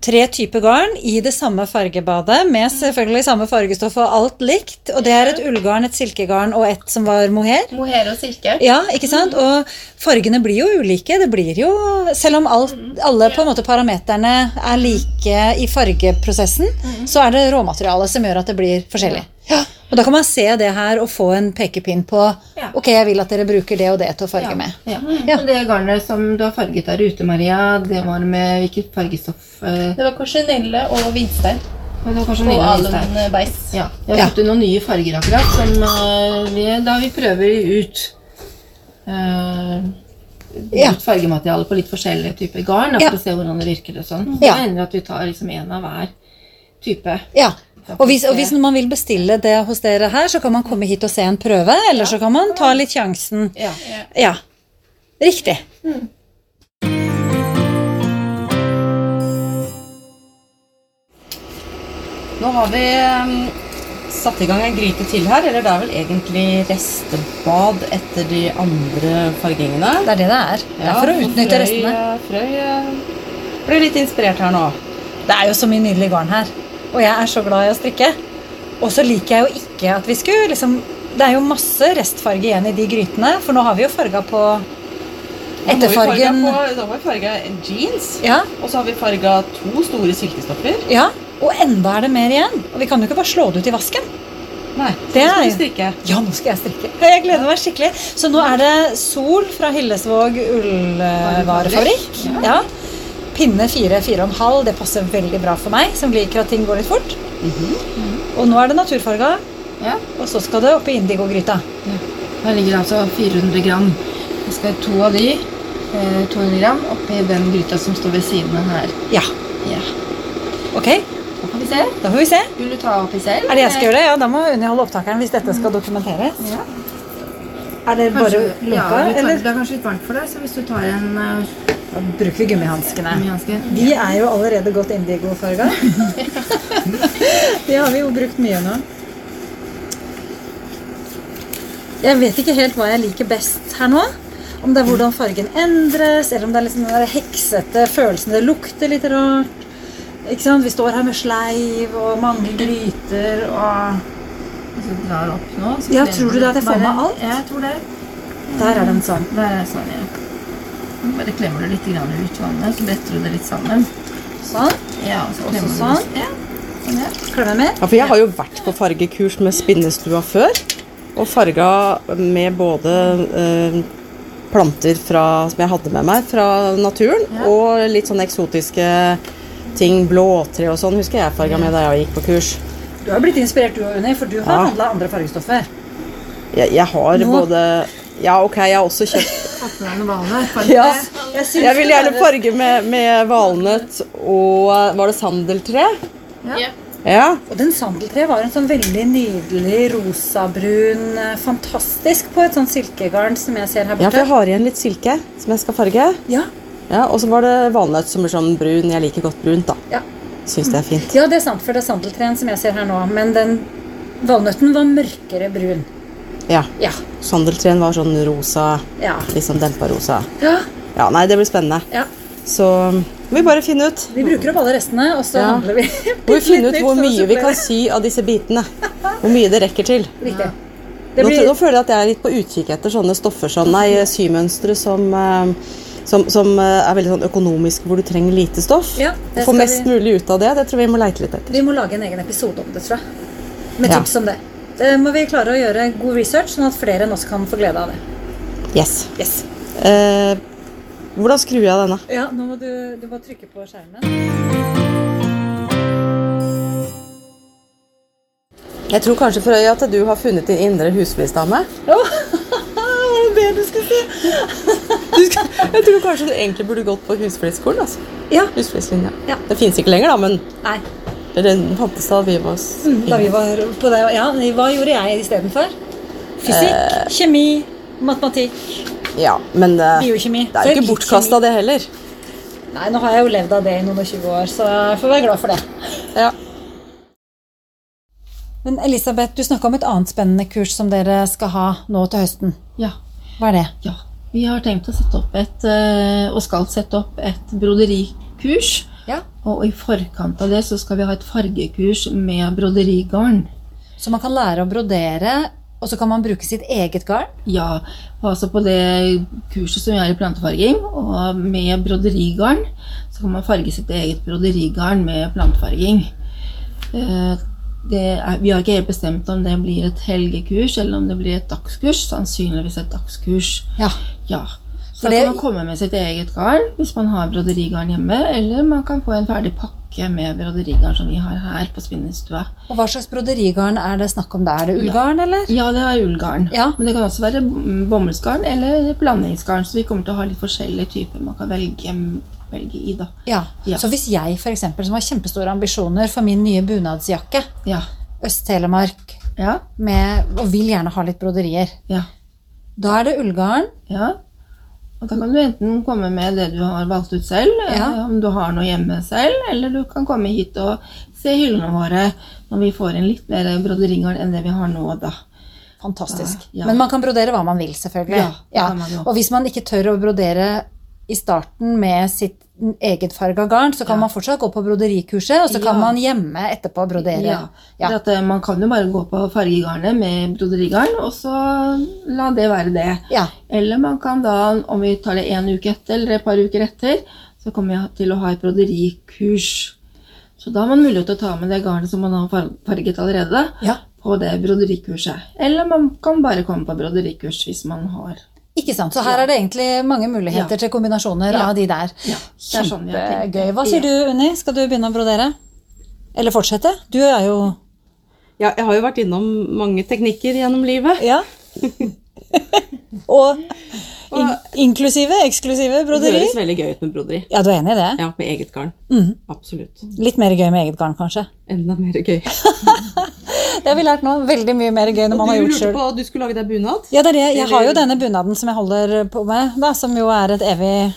Speaker 2: tre typer garn i det samme fargebadet, med selvfølgelig samme fargestoff og alt likt. Og det er et ullgarn, et silkegarn og et som var mohair.
Speaker 6: Mohair og silke.
Speaker 2: Ja, ikke sant? Og fargene blir jo ulike. Det blir jo Selv om alt, alle på en måte parameterne er like i fargeprosessen, så er det råmaterialet som gjør at det blir forskjellig. Mm. Ja. Og da kan man se det her og få en pekepinn på
Speaker 4: Ja.
Speaker 2: Ok, jeg vil at dere bruker det og det til å farge med.
Speaker 4: Ja. Og Det garnet som du har farget der ute, Maria, det var med hvilket fargestoff? eh,
Speaker 6: Det var korsinelle og hvitstein
Speaker 4: Det var kanskje
Speaker 6: og
Speaker 4: nydelig der.
Speaker 6: alun beis.
Speaker 4: Ja. Jeg
Speaker 2: Ja.
Speaker 4: har fått inn noen nye farger akkurat, som eh, vi, da vi prøver ut. eh,
Speaker 2: Ja.
Speaker 4: Ut fargemateriale på litt forskjellige typer garn da,
Speaker 2: Ja.
Speaker 4: for å se hvordan det virker. og sånn.
Speaker 2: Ja.
Speaker 4: Det hender at vi tar liksom en av hver type.
Speaker 2: Ja. Og hvis, og hvis man vil bestille det hos dere her, så kan man komme hit og se en prøve, eller så kan man ta litt sjansen.
Speaker 4: Ja.
Speaker 2: Ja. Riktig.
Speaker 5: Nå har vi ehm, satt i gang en gryte til her, eller det er vel egentlig restebad etter de andre fargingene.
Speaker 2: Det er det det er. Det er for å
Speaker 5: og
Speaker 2: utnytte
Speaker 5: Frøy,
Speaker 2: restene.
Speaker 5: eh, Frøy eh, ble litt inspirert her nå.
Speaker 2: Det er jo så mye nydelig garn her, og jeg er så glad i å strikke. Og så liker jeg jo ikke at vi skulle liksom Det er jo masse restfarge igjen i de grytene, for nå har vi jo farga på
Speaker 5: Nå har vi farget
Speaker 2: etterfargen.
Speaker 5: på- Da har vi farga jeans,
Speaker 2: Ja,
Speaker 5: og så har vi farga to store silkestoffer.
Speaker 2: ja. Og enda er det mer igjen. Og vi kan jo ikke bare slå det ut i vasken.
Speaker 5: Nei, så
Speaker 2: Det er
Speaker 5: skal vi
Speaker 2: jo-
Speaker 5: strikke.
Speaker 2: Ja, nå skal jeg strikke. Jeg gleder meg skikkelig. Så nå er det Sol fra Hillesvåg ullvarefabrikk. Ja. Pinne 4-4,5. Det passer veldig bra for meg, som liker at ting går litt fort.
Speaker 5: Mhm.
Speaker 2: Og nå er det naturfarga,
Speaker 4: Ja.
Speaker 2: og så skal det opp i indigogryta.
Speaker 4: Her ligger det altså 400 gram. Jeg skal ha to av de, eh, 200 gram, oppi den gryta som står ved siden av her.
Speaker 2: Ja.
Speaker 4: Ja.
Speaker 2: Ok,
Speaker 4: Da får vi se.
Speaker 2: da får vi se.
Speaker 4: Vil du ta oppi selv?
Speaker 2: Er det jeg skal gjøre det? Ja, da må Unni holde opptakeren hvis dette skal dokumenteres.
Speaker 4: Ja.
Speaker 2: Er det bare
Speaker 4: Kanskje-
Speaker 2: lunka,
Speaker 4: ja, du tar-
Speaker 2: eller
Speaker 4: Det er kanskje litt varmt for deg, så hvis du tar en eh,
Speaker 2: Da bruker vi gummihanskene?
Speaker 4: gummihanske
Speaker 2: De er jo allerede godt indigofarga. De har vi jo brukt mye nå. Jeg vet ikke helt hva jeg liker best her nå. Om det er hvordan fargen endres, eller om det er liksom den der heksete følelsen det lukter litt rart. Ikke sant? Vi står her med sleiv og mange gryter og
Speaker 4: Hvis du drar opp nå så
Speaker 2: Ja,
Speaker 4: ser
Speaker 2: tror du
Speaker 4: du
Speaker 2: det at jeg får
Speaker 4: bare-
Speaker 2: med alt?
Speaker 4: Ja, jeg tror det.
Speaker 2: Der er den sånn.
Speaker 4: Der er sånn, ja. Bare klemmer du litt grann ut vannet, så bretter du det litt sammen.
Speaker 2: Sånn.
Speaker 4: Ja, og så klemmer du
Speaker 2: sånn.
Speaker 4: Ja, sånn, ja.
Speaker 2: Klemmer mer.
Speaker 1: Ja, for jeg har jo vært på fargekurs med spinnestua før, og farga med både eh, planter fra, som jeg hadde med meg fra naturen, og litt sånne eksotiske ting, blåtre og sånn, husker jeg farga med da jeg gikk på kurs.
Speaker 2: Du har blitt inspirert du og Unni, for du har
Speaker 1: Ja.
Speaker 2: handla andre fargestoffer.
Speaker 1: Jeg, jeg har
Speaker 2: Nå?
Speaker 1: både Ja, ok, jeg har også kjøpt
Speaker 4: Fått med deg noen vaner. for-
Speaker 1: ja.
Speaker 2: Jeg, synes
Speaker 1: Jeg vil
Speaker 2: det
Speaker 1: gjerne
Speaker 2: er-
Speaker 1: farge med, med valnøtt og eh, Var det sandeltre?
Speaker 6: Ja.
Speaker 1: Ja.
Speaker 2: Og den sandeltreet var en sånn veldig nydelig rosabrun, eh, fantastisk på et sånt silkegarn som jeg ser her
Speaker 1: ja, for jeg
Speaker 2: borte.
Speaker 1: har igjen litt silke som jeg skal farge.
Speaker 2: Ja,
Speaker 1: Ja, Og så var det valnøtt som blir sånn brun. Jeg liker godt brunt, da.
Speaker 2: Ja.
Speaker 1: Syns det er fint.
Speaker 2: ja det er sant, for det er sandeltreen som jeg ser her nå. Men den valnøtten var mørkere brun.
Speaker 1: Ja.
Speaker 2: Ja.
Speaker 1: Sandeltreen var sånn rosa,
Speaker 2: Ja.
Speaker 1: litt sånn dempa rosa.
Speaker 2: ja.
Speaker 1: Ja, nei, det blir spennende.
Speaker 2: ja.
Speaker 1: Så må vi bare finne ut.
Speaker 2: Vi bruker opp alle restene, og så
Speaker 1: Ja.
Speaker 2: handler vi.
Speaker 1: Må vi finne ut
Speaker 2: Litt nytt
Speaker 1: hvor
Speaker 2: for å
Speaker 1: mye vi
Speaker 2: supplere.
Speaker 1: kan sy av disse bitene. Hvor mye det rekker til.
Speaker 2: Riktig. Det
Speaker 1: Nå,
Speaker 2: blir,
Speaker 1: nå føler jeg at jeg er litt på utkikk etter sånne stoffer, sånn, nei, symønstre som eh, som, som eh, er veldig sånn økonomisk, hvor du trenger lite stoff.
Speaker 2: Ja, det
Speaker 1: Få
Speaker 2: skal
Speaker 1: mest
Speaker 2: vi-
Speaker 1: mulig ut av det. Det tror jeg vi må leite litt etter.
Speaker 2: Vi må lage en egen episode om det, tror jeg. Med
Speaker 1: Ja.
Speaker 2: tips om det. Det må vi klare å gjøre god research, sånn at flere enn oss kan få glede av det.
Speaker 1: Yes. Eh, hvordan skrur jeg av denne?
Speaker 2: Ja, nå må du, du må trykke på skjermen.
Speaker 1: Jeg tror kanskje Frøy at du har funnet din indre husflidsdame.
Speaker 2: Var det det du skulle si?
Speaker 1: Du skal- Jeg tror kanskje du egentlig burde gått på husflidskolen. Altså.
Speaker 2: Ja.
Speaker 1: Husflidslinja.
Speaker 2: Ja.
Speaker 1: Det fins ikke lenger, da, men
Speaker 2: Nei, Mm,
Speaker 1: den fantes da vi var s-
Speaker 2: da vi var på det Ja, hva gjorde jeg istedenfor?
Speaker 1: Eh.
Speaker 2: Fysikk, kjemi, matematikk,
Speaker 1: Ja, men eh,
Speaker 2: biokjemi.
Speaker 1: det er jo ikke bortkasta, det heller.
Speaker 2: Nei, nå har jeg jo levd av det i noen og 20 år, så jeg får være glad for det.
Speaker 1: Ja.
Speaker 2: Men Elisabeth, du snakka om et annet spennende kurs som dere skal ha nå til høsten.
Speaker 4: Ja.
Speaker 2: Hva er det?
Speaker 4: ja. Vi har tenkt å sette opp et, eh, og skal sette opp et broderikurs
Speaker 5: Ja.
Speaker 4: Og i forkant av det så skal vi ha et fargekurs med broderigarn.
Speaker 2: Så man kan lære å brodere, og så kan man bruke sitt eget garn.
Speaker 4: Ja, og altså på det kurset som vi har i plantefarging, og med broderigarn, så kan man farge sitt eget broderigarn med plantefarging. Eh, Det er, vi har ikke helt bestemt om det blir et helgekurs eller om det blir et dagskurs. Sannsynligvis et dagskurs.
Speaker 2: Ja.
Speaker 4: Ja.
Speaker 2: For
Speaker 4: Så
Speaker 2: det-
Speaker 4: da kan man komme med sitt eget garn hvis man har broderigarn hjemme, eller man kan få en ferdig pakke med broderigarn som vi har her på spinnestua.
Speaker 2: Og hva slags broderigarn er det snakk om da? Er det ullgarn, eller?
Speaker 4: Ja, det er ullgarn.
Speaker 2: Ja.
Speaker 4: Men det kan også være mm, bomullsgarn eller blandingsgarn. Så vi kommer til å ha litt forskjellige typer man kan velge, velge i, da.
Speaker 2: Ja.
Speaker 4: Ja.
Speaker 2: Så hvis jeg for eksempel, som har kjempestore ambisjoner for min nye bunadsjakke,
Speaker 4: Ja.
Speaker 2: Øst-Telemark,
Speaker 4: Ja.
Speaker 2: med, og vil gjerne ha litt broderier,
Speaker 4: Ja.
Speaker 2: da er det ullgarn.
Speaker 4: ja. Og da kan du enten komme med det du har valgt ut selv,
Speaker 2: Ja.
Speaker 4: eh, om du har noe hjemme selv, eller du kan komme hit og se hyllene våre når vi får inn litt mer broderigarn enn det vi har nå, da.
Speaker 2: Fantastisk.
Speaker 4: Ja, ja.
Speaker 2: Men man kan brodere hva man vil, selvfølgelig.
Speaker 4: Ja, det kan man jo.
Speaker 2: Og hvis man ikke tør å brodere i starten med sitt eget farga garn, så kan man fortsatt gå på broderikurset, og så kan
Speaker 4: Ja.
Speaker 2: man hjemme etterpå brodere.
Speaker 4: Ja. For at eh, man kan jo bare gå på fargegarnet med broderigarn, og så la det være det.
Speaker 2: Ja.
Speaker 4: Eller man kan da, om vi tar det en uke etter eller et par uker etter, så kommer jeg til å ha et broderikurs. Så da har man mulighet til å ta med det garnet som man har far- farget allerede,
Speaker 2: Ja.
Speaker 4: på det broderikurset. Eller man kan bare komme på broderikurs hvis man har
Speaker 2: Ikke sant? Så her er det egentlig mange muligheter
Speaker 4: Ja.
Speaker 2: til kombinasjoner
Speaker 4: Ja.
Speaker 2: av de der.
Speaker 4: Ja, det er sånn vi har tenkt.
Speaker 2: Kjempegøy. Hva sier du, Unni? Skal du begynne å brodere? Eller fortsette? Du er jo
Speaker 1: Ja, jeg har jo vært innom mange teknikker gjennom livet.
Speaker 2: Ja. Og in inklusive, eksklusive
Speaker 1: Det
Speaker 2: broderi.
Speaker 1: høres veldig gøy ut med broderi.
Speaker 2: Ja, du er enig i det?
Speaker 1: Ja, med eget garn. Absolutt.
Speaker 2: Litt mer gøy med eget garn, kanskje.
Speaker 1: Enda mer gøy.
Speaker 2: Det har vi lært nå. Veldig mye mer gøy når man har
Speaker 1: du
Speaker 2: gjort
Speaker 1: lurte
Speaker 2: sjøl.
Speaker 1: på at du skulle lage deg bunad?
Speaker 2: Ja, det er det. Jeg har jo denne bunaden som jeg holder på med, da, som jo er et evig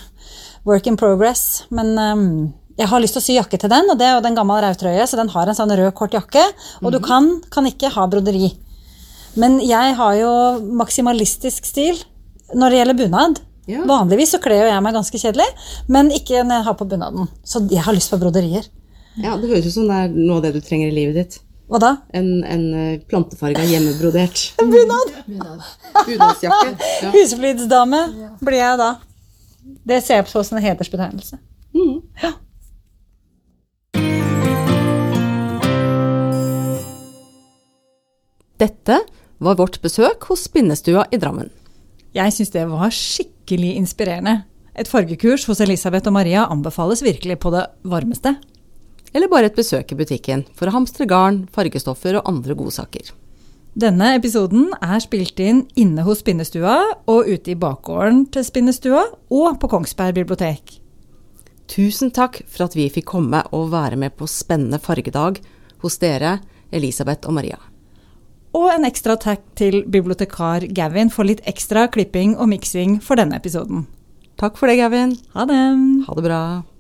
Speaker 2: work in progress. Men ehm, jeg har lyst til å sy jakke til den, og det er jo den gammel rautrøye, så den har en sånn rød, kort jakke.
Speaker 1: Mhm.
Speaker 2: Og du kan, kan ikke ha broderi. Men jeg har jo maksimalistisk stil når det gjelder bunad.
Speaker 1: Ja.
Speaker 2: Vanligvis så kler jo jeg meg ganske kjedelig, men ikke når jeg har på bunaden. Så jeg har lyst på broderier.
Speaker 1: Ja, det høres ut som det er noe av det du trenger i livet ditt.
Speaker 2: Hva da?
Speaker 1: En, en eh, plantefarga, hjemmebrodert Bunadsjakke. Ja.
Speaker 2: Husflidsdame blir jeg da. Det ser jeg på som en hedersbetegnelse.
Speaker 1: Dette var vårt besøk hos Spinnestua i Drammen.
Speaker 2: Jeg syns det var skikkelig inspirerende. Et fargekurs hos Elisabeth og Maria anbefales virkelig på det varmeste.
Speaker 1: Eller bare et besøk i butikken for å hamstre garn, fargestoffer og andre godsaker.
Speaker 2: Denne episoden er spilt inn inne hos Spinnestua og ute i bakgården til Spinnestua og på Kongsberg bibliotek.
Speaker 1: Tusen takk for at vi fikk komme og være med på spennende fargedag hos dere, Elisabeth og Maria.
Speaker 2: Og en ekstra takk til bibliotekar Gavin for litt ekstra klipping og miksing for denne episoden.
Speaker 1: Takk for det, Gavin.
Speaker 2: Ha det!
Speaker 1: Ha det bra.